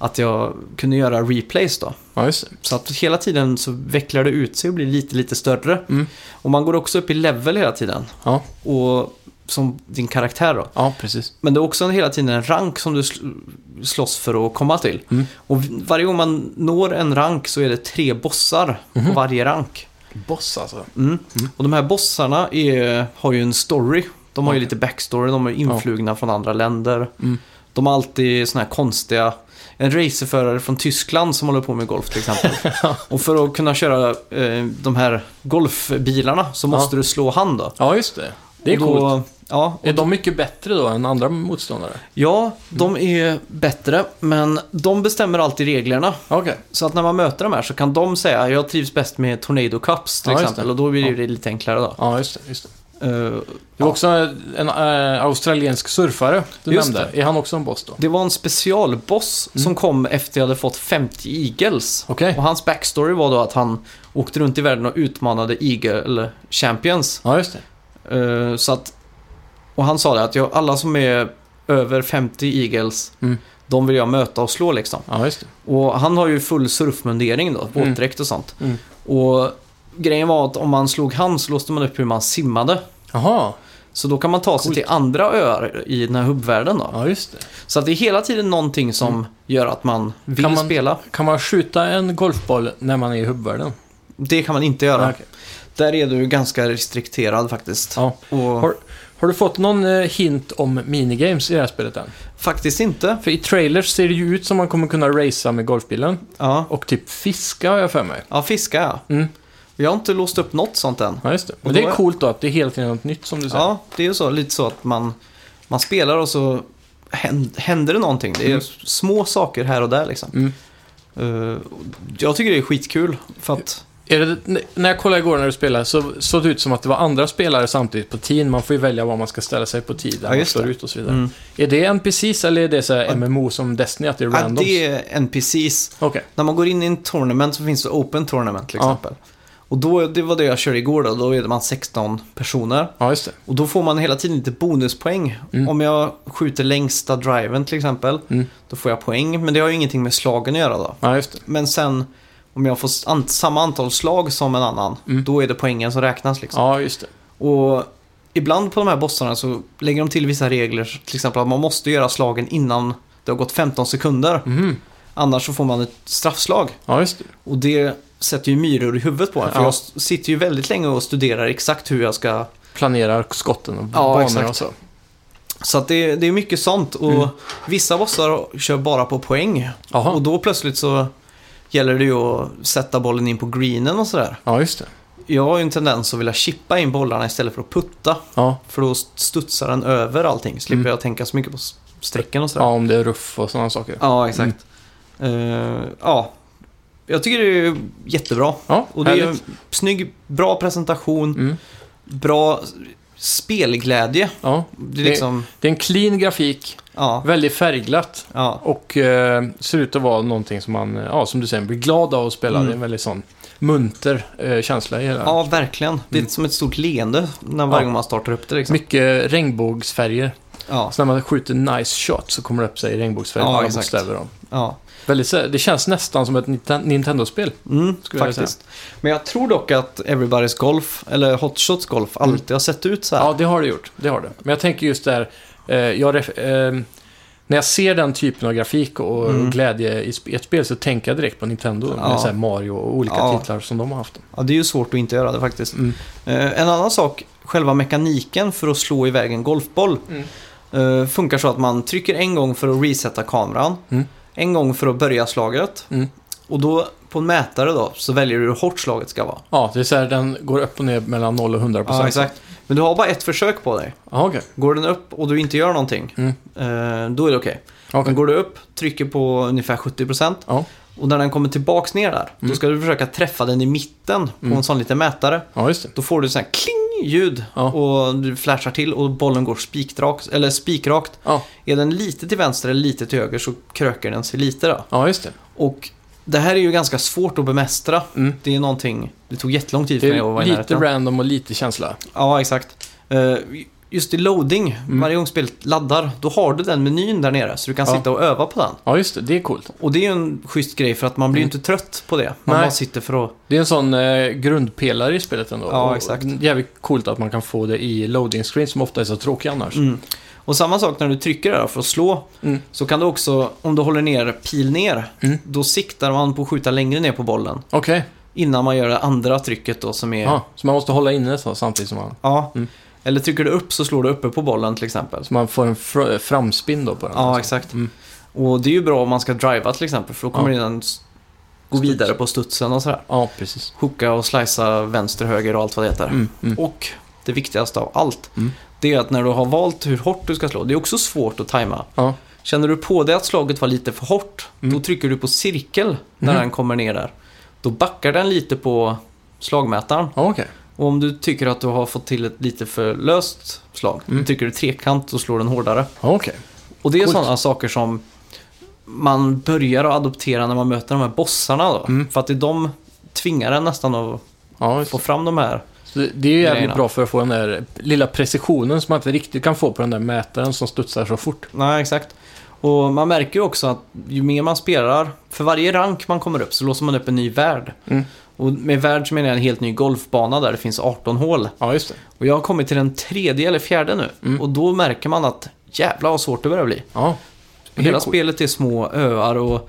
att jag kunde göra replays då.
Ja, just det.
Så att hela tiden så vecklar det ut sig och blir lite, lite större.
Mm.
Och man går också upp i level hela tiden.
Ja,
Och som din karaktär då.
ja precis.
Men det är också en- hela tiden en rank som du sl- slåss för att komma till.
Mm.
Och v- varje gång man når en rank så är det tre bossar
Mhm.
på varje rank.
Boss alltså.
Mm. Och de här bossarna är, har ju en story. De har ju
Okej.
lite backstory, de är influgna från andra länder.
Mm.
De har alltid såna här konstiga... En racerförare från Tyskland som håller på med golf till exempel. och för att kunna köra eh, de här golfbilarna så måste du slå hand då.
Ja, just det. Det är
Och då-
coolt.
Ja,
Är de mycket bättre då än andra motståndare?
ja, de är bättre, men de bestämmer alltid reglerna.
Okej.
Så att när man möter de här så kan de säga jag trivs bäst med Tornado Cups till
Ja, just
exempel.
det.
Och då blir
Ja.
det lite enklare då.
Ja, just det. Just det.
Eh,
det var också en äh, australiensk surfare du
Just
nämnde. Är han också en boss då?
Det var en specialboss
Mm.
som kom efter jag hade fått 50 eagles.
Okej.
Och hans backstory var då att han åkte runt i världen och utmanade eagle champions.
Ja, just det.
Eh, så att, och han sa det att jag, alla som är över 50 eagles,
Mm.
de vill jag möta och slå liksom.
Ja, just det.
Och han har ju full surfmundering då,
Mm.
våtdräkt och sånt.
Mm.
Och grejen var att om man slog han så låste man upp hur man simmade.
Jaha,
Så då kan man ta sig
Coolt.
till andra öar i den här hubbvärlden då.
ja just det.
Så att det är hela tiden någonting som gör att man vill
Mm. Kan man-
spela.
Kan man skjuta en golfboll när man är i hubbvärlden?
Det kan man inte göra.
Ah, okej.
Där är du ganska restrikterad faktiskt.
Ja.
Och
Har- Har du fått någon eh, hint om minigames i det här spelet än?
Faktiskt inte.
För i trailers ser det ju ut som man kommer kunna racea med golfbilen.
Ja,
Och typ fiska har jag för mig.
ja fiska ja.
Mm.
Jag har inte låst upp något sånt än.
Ja, just det.
Och
Men det
då
är
är-
coolt då att det är helt enkelt något nytt som du säger.
Ja, det är ju så, lite så att man, man spelar och så hän- händer det någonting. Det är
Mm.
små saker här och där liksom.
Mm.
Eh, jag tycker det är skitkul för att...
Är det, n- när jag kollade igår när du spelade så såg det ut som att det var andra spelare samtidigt på team. Man får ju välja var man ska ställa sig på tid.
Ja,
Ja, man
just
slår
det.
ut och så vidare.
Mm.
Är det NPCs eller är det så här MMO som Destiny, att det är
Ja,
randoms?
det är NPCs.
Okej,
När man går in i en tournament så finns det open tournament till
Ja.
exempel. Och då, det var det jag körde igår då, då är man 16 personer.
ja just det.
Och då får man hela tiden lite bonuspoäng.
Mm.
Om jag skjuter längsta driven till exempel,
Mm.
då får jag poäng. Men det har ju ingenting med slagen att göra då.
Ja, just det.
Men sen, om jag får an- samma antal slag som en annan,
Mm.
då är det poängen som räknas liksom.
Ja, just det.
Och ibland på de här bossarna så lägger de till vissa regler, till exempel att man måste göra slagen innan det har gått 15 sekunder.
Mhm.
Annars så får man ett straffslag.
Ja, just det.
Och det sätter ju myror i huvudet på en. För
Ja.
jag s- sitter ju väldigt länge och studerar exakt hur jag ska...
Planerar skotten och
Ja,
banor
exakt.
och så.
Så att det, det är mycket sånt. Och
Mm.
vissa bossar kör bara på poäng. Och
Jaha,
då plötsligt så gäller det ju att sätta bollen in på greenen och sådär.
ja just det.
Jag har ju en tendens att vilja chippa in bollarna istället för att putta.
Ja.
För då studsar den över allting. Slipper
Mm.
jag tänka så mycket på s- strecken och sådär.
ja, Mm. om det är ruff och sådana saker.
Ja, exakt. Eh, ja. Jag tycker det är jättebra.
Ja,
Och det är ju en
härligt.
snygg, bra presentation,
Mm.
bra spelglädje.
Ja.
Det är liksom,
Det är en clean grafik,
ja,
väldigt färgglatt
ja,
och eh, ser ut att vara någonting som man, eh, ja, som du säger, blir glad av att spela.
Mm.
Det är en väldigt sån munter eh, känsla i hela.
ja, verkligen. Det är
Mm.
som ett stort leende när varje
Ja.
gång man startar upp det liksom.
Mycket regnbågsfärger.
Ja,
Så när man skjuter nice shot så kommer det upp sig i regnbågsfärger
Ja,
på alla
exakt.
bokstäver. då.
ja.
Väldigt, så- det känns nästan som ett Nita- Nintendo-spel.
Mm,
Skulle jag
faktiskt. Men jag tror dock att Everybody's Golf, eller Hot Shots Golf,
Mm.
alltid har sett ut så här.
Ja, det har det gjort. Det har det. Men jag tänker just där, eh, jag ref- eh, när jag ser den typen av grafik och
Mm.
glädje i sp- ett spel så tänker jag direkt på Nintendo.
Ja.
Med så här Mario och olika
Ja.
titlar som de har haft.
Ja, det är ju svårt att inte göra det faktiskt.
Mm.
Eh, En annan sak, själva mekaniken för att slå iväg en golfboll
Mm.
eh, funkar så att man trycker en gång för att resetta kameran,
Mm.
en gång för att börja slaget
Mm.
och då på en mätare då så väljer du hur hårt slaget ska vara.
Ja, det är så här, den går upp och ner mellan 0 och 100 procent.
exakt. Men du har bara ett försök på dig.
Ja, okej.
Går den upp och du inte gör någonting,
Mm.
eh, då är det okej.
Okej.
Men går du upp, trycker på ungefär 70%
Ja.
och när den kommer tillbaks ner där, då
Mm.
ska du försöka träffa den i mitten på
Mm.
en sån liten mätare.
ja, just det.
Då får du sån här kling-ljud
Ja.
och du flashar till och bollen går spikrakt. Eller spikrakt.
Ja.
Är den lite till vänster eller lite till höger så kröker den sig lite då.
Ja, just det.
Och det här är ju ganska svårt att bemästra.
Mm.
Det är någonting, det tog jättelång tid för
Det
mig att vara
är
i
lite
närheten.
random och lite känsla.
Ja, exakt. Eh, Just i loading, varje gång spelet laddar, då har du den menyn där nere så du kan
Mm. Ja.
sitta och öva på den.
Ja, just det. Det är coolt.
Och det är ju en schysst grej för att man blir ju inte trött på det. Man
Mm. Nej.
bara sitter för att...
Det är en sån eh, grundpelare i spelet ändå.
Ja,
Och
exakt.
Jävligt coolt att man kan få det i loading screen som ofta är så tråkiga annars.
Mm. Och samma sak när du trycker där för att slå,
Mm.
så kan du också, om du håller ner pil ner,
Mm.
då siktar man på att skjuta längre ner på bollen.
Okej,
Innan man gör det andra trycket då som är...
Ja, så man måste hålla inne så, samtidigt som man,
Ja.
Mm.
Eller trycker du upp så slår du uppe på bollen till exempel.
så man får en fr- framspinn då på den.
Ja,
alltså.
exakt.
Mm.
Och det är ju bra om man ska driva till exempel, för då kommer
Ja.
den s- gå
Studs.
vidare på studsen och sådär.
Ja, precis.
Hooka och slicea vänster, höger och allt vad det heter.
Mm, mm.
Och det viktigaste av allt,
Mm.
det är att när du har valt hur hårt du ska slå, det är också svårt att tajma.
Ja.
Känner du på dig att slaget var lite för hårt,
Mm.
då trycker du på cirkel när
Mhm.
den kommer ner där. Då backar den lite på slagmätaren.
Ja, okej.
Och om du tycker att du har fått till ett lite för löst slag,
Mm.
då trycker du trekant och slår den hårdare.
Ja, okej.
Och det är
Coolt.
sådana saker som man börjar att adoptera när man möter de här bossarna då.
Mm.
För att det är de tvingar en nästan att
Ja,
få fram de här.
så det- det är ju jävligt
Grejerna.
bra för att få den där lilla precisionen som man inte riktigt kan få på den där mätaren som studsar så fort.
Nej, exakt. Och man märker ju också att ju mer man spelar, för varje rank man kommer upp så låser man upp en ny värld.
Mm.
Och med värld så menar jag en helt ny golfbana där det finns 18 hål.
Ja, just det.
Och jag har kommit till den tredje eller fjärde nu.
Mm.
Och då märker man att jävla vad svårt det börjar bli.
Ja. Det är
Hela
coolt.
spelet är små öar och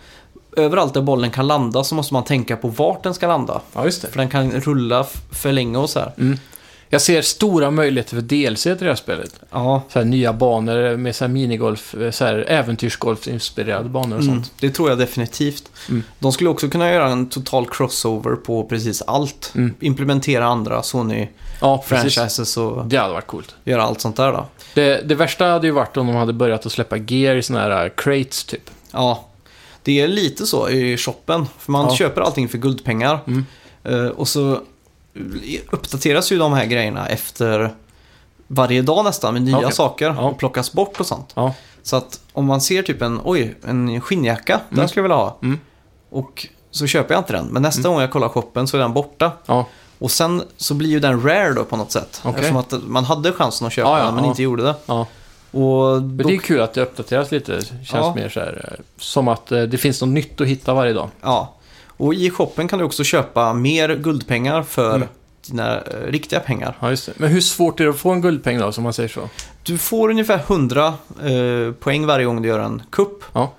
överallt där bollen kan landa så måste man tänka på vart den ska landa.
Ja, just det.
För den kan rulla f- för länge och så här.
Jag ser stora möjligheter för DLC till det här spelet.
Ja.
Så här nya banor med så här minigolf, eh, så här äventyrsgolf-inspirerade banor och
Mm,
sånt.
det tror jag definitivt.
Mm.
De skulle också kunna göra en total crossover på precis allt.
Mm.
Implementera andra Sony-franchises
Ja, precis.
och
Det hade varit coolt.
göra allt sånt där då.
Det, det värsta hade ju varit om de hade börjat att släppa gear i såna här crates typ.
Ja, det är lite så i shoppen. För man
Ja.
köper allting för guldpengar.
Mm.
Eh, Och så uppdateras ju de här grejerna efter varje dag nästan med nya
Okej.
saker.
Ja.
Och plockas bort och sånt.
Ja.
Så att om man ser typ en, oj, en skinnjacka, den
Mm.
skulle jag vilja ha.
Mm.
Och så köper jag inte den. Men nästa gång jag kollar shoppen så är den borta.
Ja,
Och sen så blir ju den rare då på något sätt.
Okej.
Eftersom att man hade chansen att köpa
Ja, ja,
den men
ja.
inte gjorde det.
ja.
Och
Men
då,
det är kul att det uppdateras lite. Det känns
Ja.
mer så här, eh, som att eh, det finns något nytt att hitta varje dag.
ja. och i shoppen kan du också köpa mer guldpengar för
Mm.
dina eh, riktiga pengar.
Ja, just det. Men hur svårt är det att få en guldpeng då, som man säger så?
Du får ungefär 100 eh, poäng varje gång du gör en kupp.
Ja.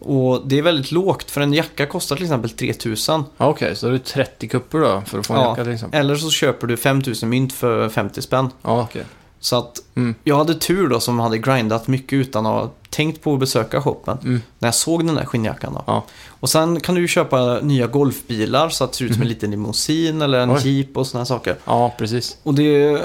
Och det är väldigt lågt för en jacka kostar till exempel 3000.
Ja, Okej, så är det 30 kupper då för att få en
Ja.
jacka till exempel?
Eller så köper du 5000 mynt för 50 spänn.
Ja, okej.
Så att
Mm.
jag hade tur då som hade grindat mycket utan att ha tänkt på att besöka shoppen.
Mm.
När jag såg den där skinnjackan då.
Ja.
Och sen kan du ju köpa nya golfbilar så att det ser ut som en liten limousin eller en
Mm. Oj.
jeep och sådana saker.
Ja, precis.
Och det,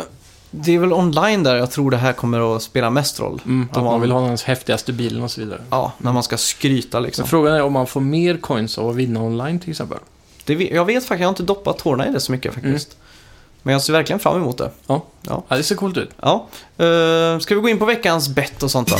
det är väl online där jag tror det här kommer att spela mest roll.
Mm,
Då
att man vill ha den häftigaste bilen och så vidare.
Ja, när man ska skryta
Så
liksom.
frågan är om man får mer coins av att vinna online till exempel.
Det, ve- jag vet faktiskt, jag har inte doppat tårna i det så mycket
Mm.
faktiskt. Men jag ser verkligen fram emot det.
Ja.
Ja.
Ja, det ser coolt ut.
ja. Eh, ska vi gå in på veckans bett och sånt då?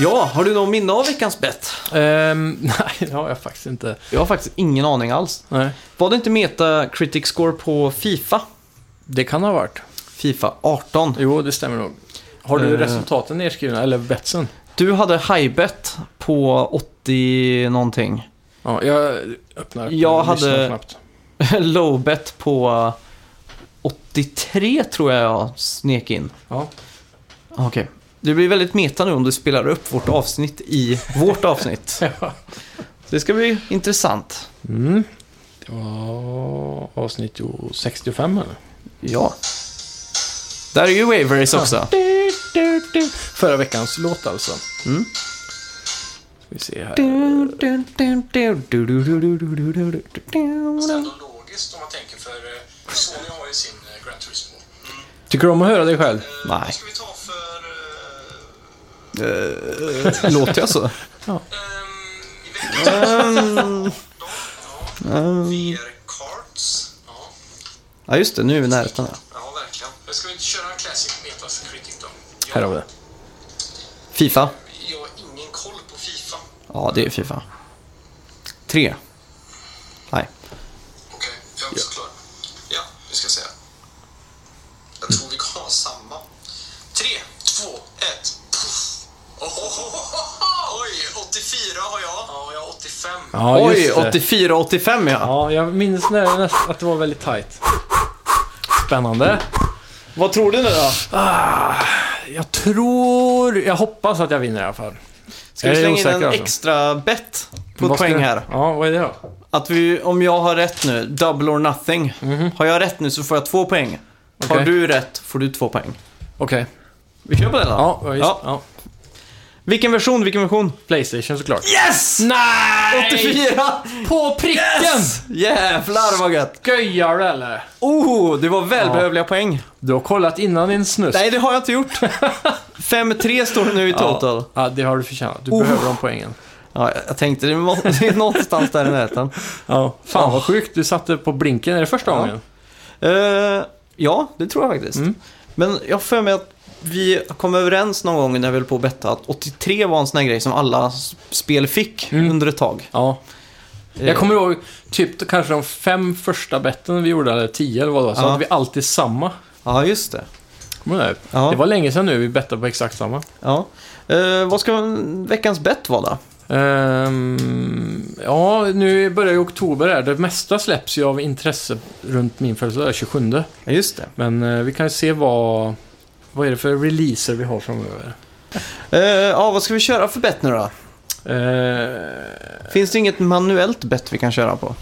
Ja, har du någon minne av veckans bett?
Ehm, nej, det har jag faktiskt inte.
Jag har faktiskt ingen aning alls.
Nej,
Var det inte Metacritic score på Fifa?
det kan ha varit.
Fifa 18.
Jo, det stämmer nog. Har du
Eh.
resultaten nedskrivna, eller betsen?
Du hade highbet på 80 någonting.
Ja, jag öppnar.
Jag
lyssnar
hade-
Knappt.
Lowbet på eh, 83 tror jag jag snek in.
Ja.
Okej. Det blir väldigt meta nu om du spelar upp vårt avsnitt i vårt avsnitt. Det ska bli intressant.
Mm. Det var avsnitt 65 eller?
Ja. Där är ju Waverace också.
Du, du, du. Förra veckans låt alltså.
Mm.
Ska vi se här.
Sen då logiskt om man tänker för eh, Sony har ju sin eh, Gran Turismo.
Tycker du om att höra dig själv?
Nej,
Vad ska vi ta för... eh,
låter jag så?
ehm, I veckan? Då? Ja. VR Karts? Ja.
Ja, just det. Nu är vi i närheten. här.
ja, verkligen. Men Ska vi inte köra en Classic Metas Critic då? Jag,
Här har vi det.
Fifa.
jag har ingen koll på Fifa.
Ja, det är Fifa. Tre. Nej.
Okej, jag är också klar. Ja, vi ska se. Jag tror vi kan ha samma. Tre, två, ett. Puff. Ohohoho! Oj, 84 har jag. Ja, jag har 85.
Ja,
Oj,
just det.
84-85 ja.
Ja, jag minns när, näst, att det var väldigt tight. Spännande.
Vad tror du nu då?
Jag tror... Jag hoppas att jag vinner i alla fall.
Ska vi
Jag är
slänga in
osäker,
en
alltså.
extra bett på
Vad ska
poäng
du-
här?
Ja, vad är det då?
Att vi, om jag har rätt nu, double or nothing. Har jag rätt nu så får jag två poäng. Har
Mhm. Okej.
du rätt får du två poäng.
Okej.
Vi kör på den då.
Ja, ja, just,
Ja.
ja. ja.
Vilken version, vilken version?
Playstation såklart.
Yes!
Nej!
84!
På pricken!
Yes! Jävlar vad gött!
Skojar du eller?
Oh, det var välbehövliga poäng.
Du har kollat innan din snus.
Nej, det har jag inte gjort. 5-3 står det nu i total.
Ja, ja, det har du förtjänat. Du
Oh.
behöver de poängen.
Ja, jag tänkte det må- det är någonstans där i närheten.
Ja, fan
Oh.
vad sjukt. Du satte på blinken. Är det första
Ja.
gången?
Eh, ja, det tror jag faktiskt.
Mm.
Men jag har för mig att vi kom överens någon gång när vi höll på att betta att 83 var en sån här grej som alla s- spel fick
Mm.
under ett tag.
Ja.
Eh,
Jag kommer ihåg typ kanske de fem första betten vi gjorde, eller tio eller vad det var, så
Ja.
hade vi alltid samma.
Eh, Ja, just det.
Kommer du ihåg det?
Ja.
Det var länge sedan nu vi bettade på exakt samma.
ja. Eh, vad ska veckans bett vara då?
Ehm, ja, nu börjar ju oktober här. Det mesta släpps ju av intresse runt min födelsedag, 27.
Ja, just det.
Men eh, vi kan ju se vad, vad är det för releaser vi har framöver.
Eh, ja, vad ska vi köra för bett nu då?
Eh,
Finns det inget manuellt bett vi kan köra på?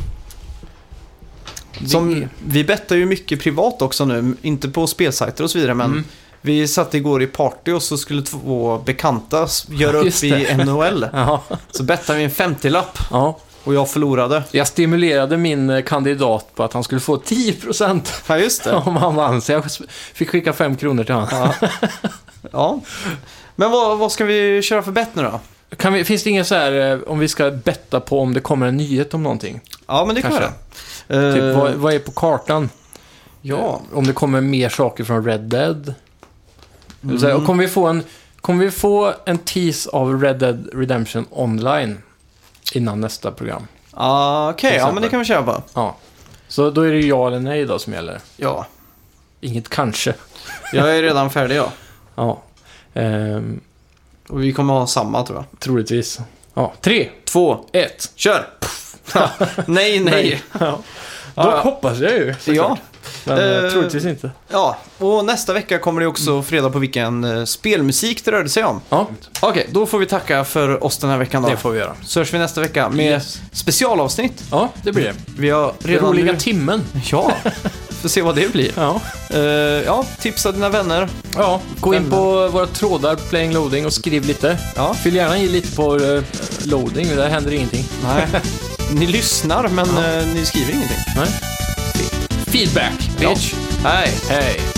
Som,
Det-
vi bettar ju mycket privat också nu, inte på spelsajter och så vidare, men
Mm.
vi satt igår i party och så skulle två bekanta s- göra upp
Just det.
i NHL.
ja,
Så bettade vi en 50-lapp
ja.
och jag förlorade.
Jag stimulerade min eh, kandidat på att han skulle få 10%
Ja, just det.
om han vann, så jag fick skicka 5 kronor till honom.
Ja. ja. Men vad, vad ska vi köra för bett nu då?
Kan vi, finns det ingen så här, eh, om vi ska betta på om det kommer en nyhet om någonting?
Ja, men det kan vi göra.
Kanske.
Eh,
Typ, vad, vad är på kartan?
Ja.
Eh, Om det kommer mer saker från Red Dead? Mm. Så här, och kommer, vi få en, kommer vi få en tease av Red Dead Redemption online innan nästa program?
Ah, Okej,
Till
ja men det
exempel.
kan vi köra på.
Ja. Så då är det ja eller nej då som gäller.
Ja,
Inget kanske.
jag är redan färdig ja.
Ja. Ehm,
Och vi kommer ha samma tror jag.
troligtvis. Ja. Tre,
Två,
ett.
Kör! nej, nej.
Nej.
Ja.
Då
Ja,
hoppas jag ju. såklart.
ja.
Men
Eh,
uh, troligtvis inte.
ja, och nästa vecka kommer det också freda på vilken eh, spelmusik det rörde sig om.
Ja,
Okej, då får vi tacka för oss den här veckan då.
det får vi göra.
Så hörs vi nästa vecka med
Yes.
specialavsnitt.
Ja, det blir det.
Vi har
Den
redan
roliga
nu...
timmen.
Ja, får se vad det blir.
Ja.
Eh, ja, tipsa dina vänner.
ja, gå in på våra trådar, playing loading och skriv lite.
Ja.
Fyll gärna i lite på eh, loading, där händer ingenting.
Nej. Ni lyssnar, men eh, ni skriver ingenting.
Nej. Feedback, bitch.
Ja. Hej!
Hej.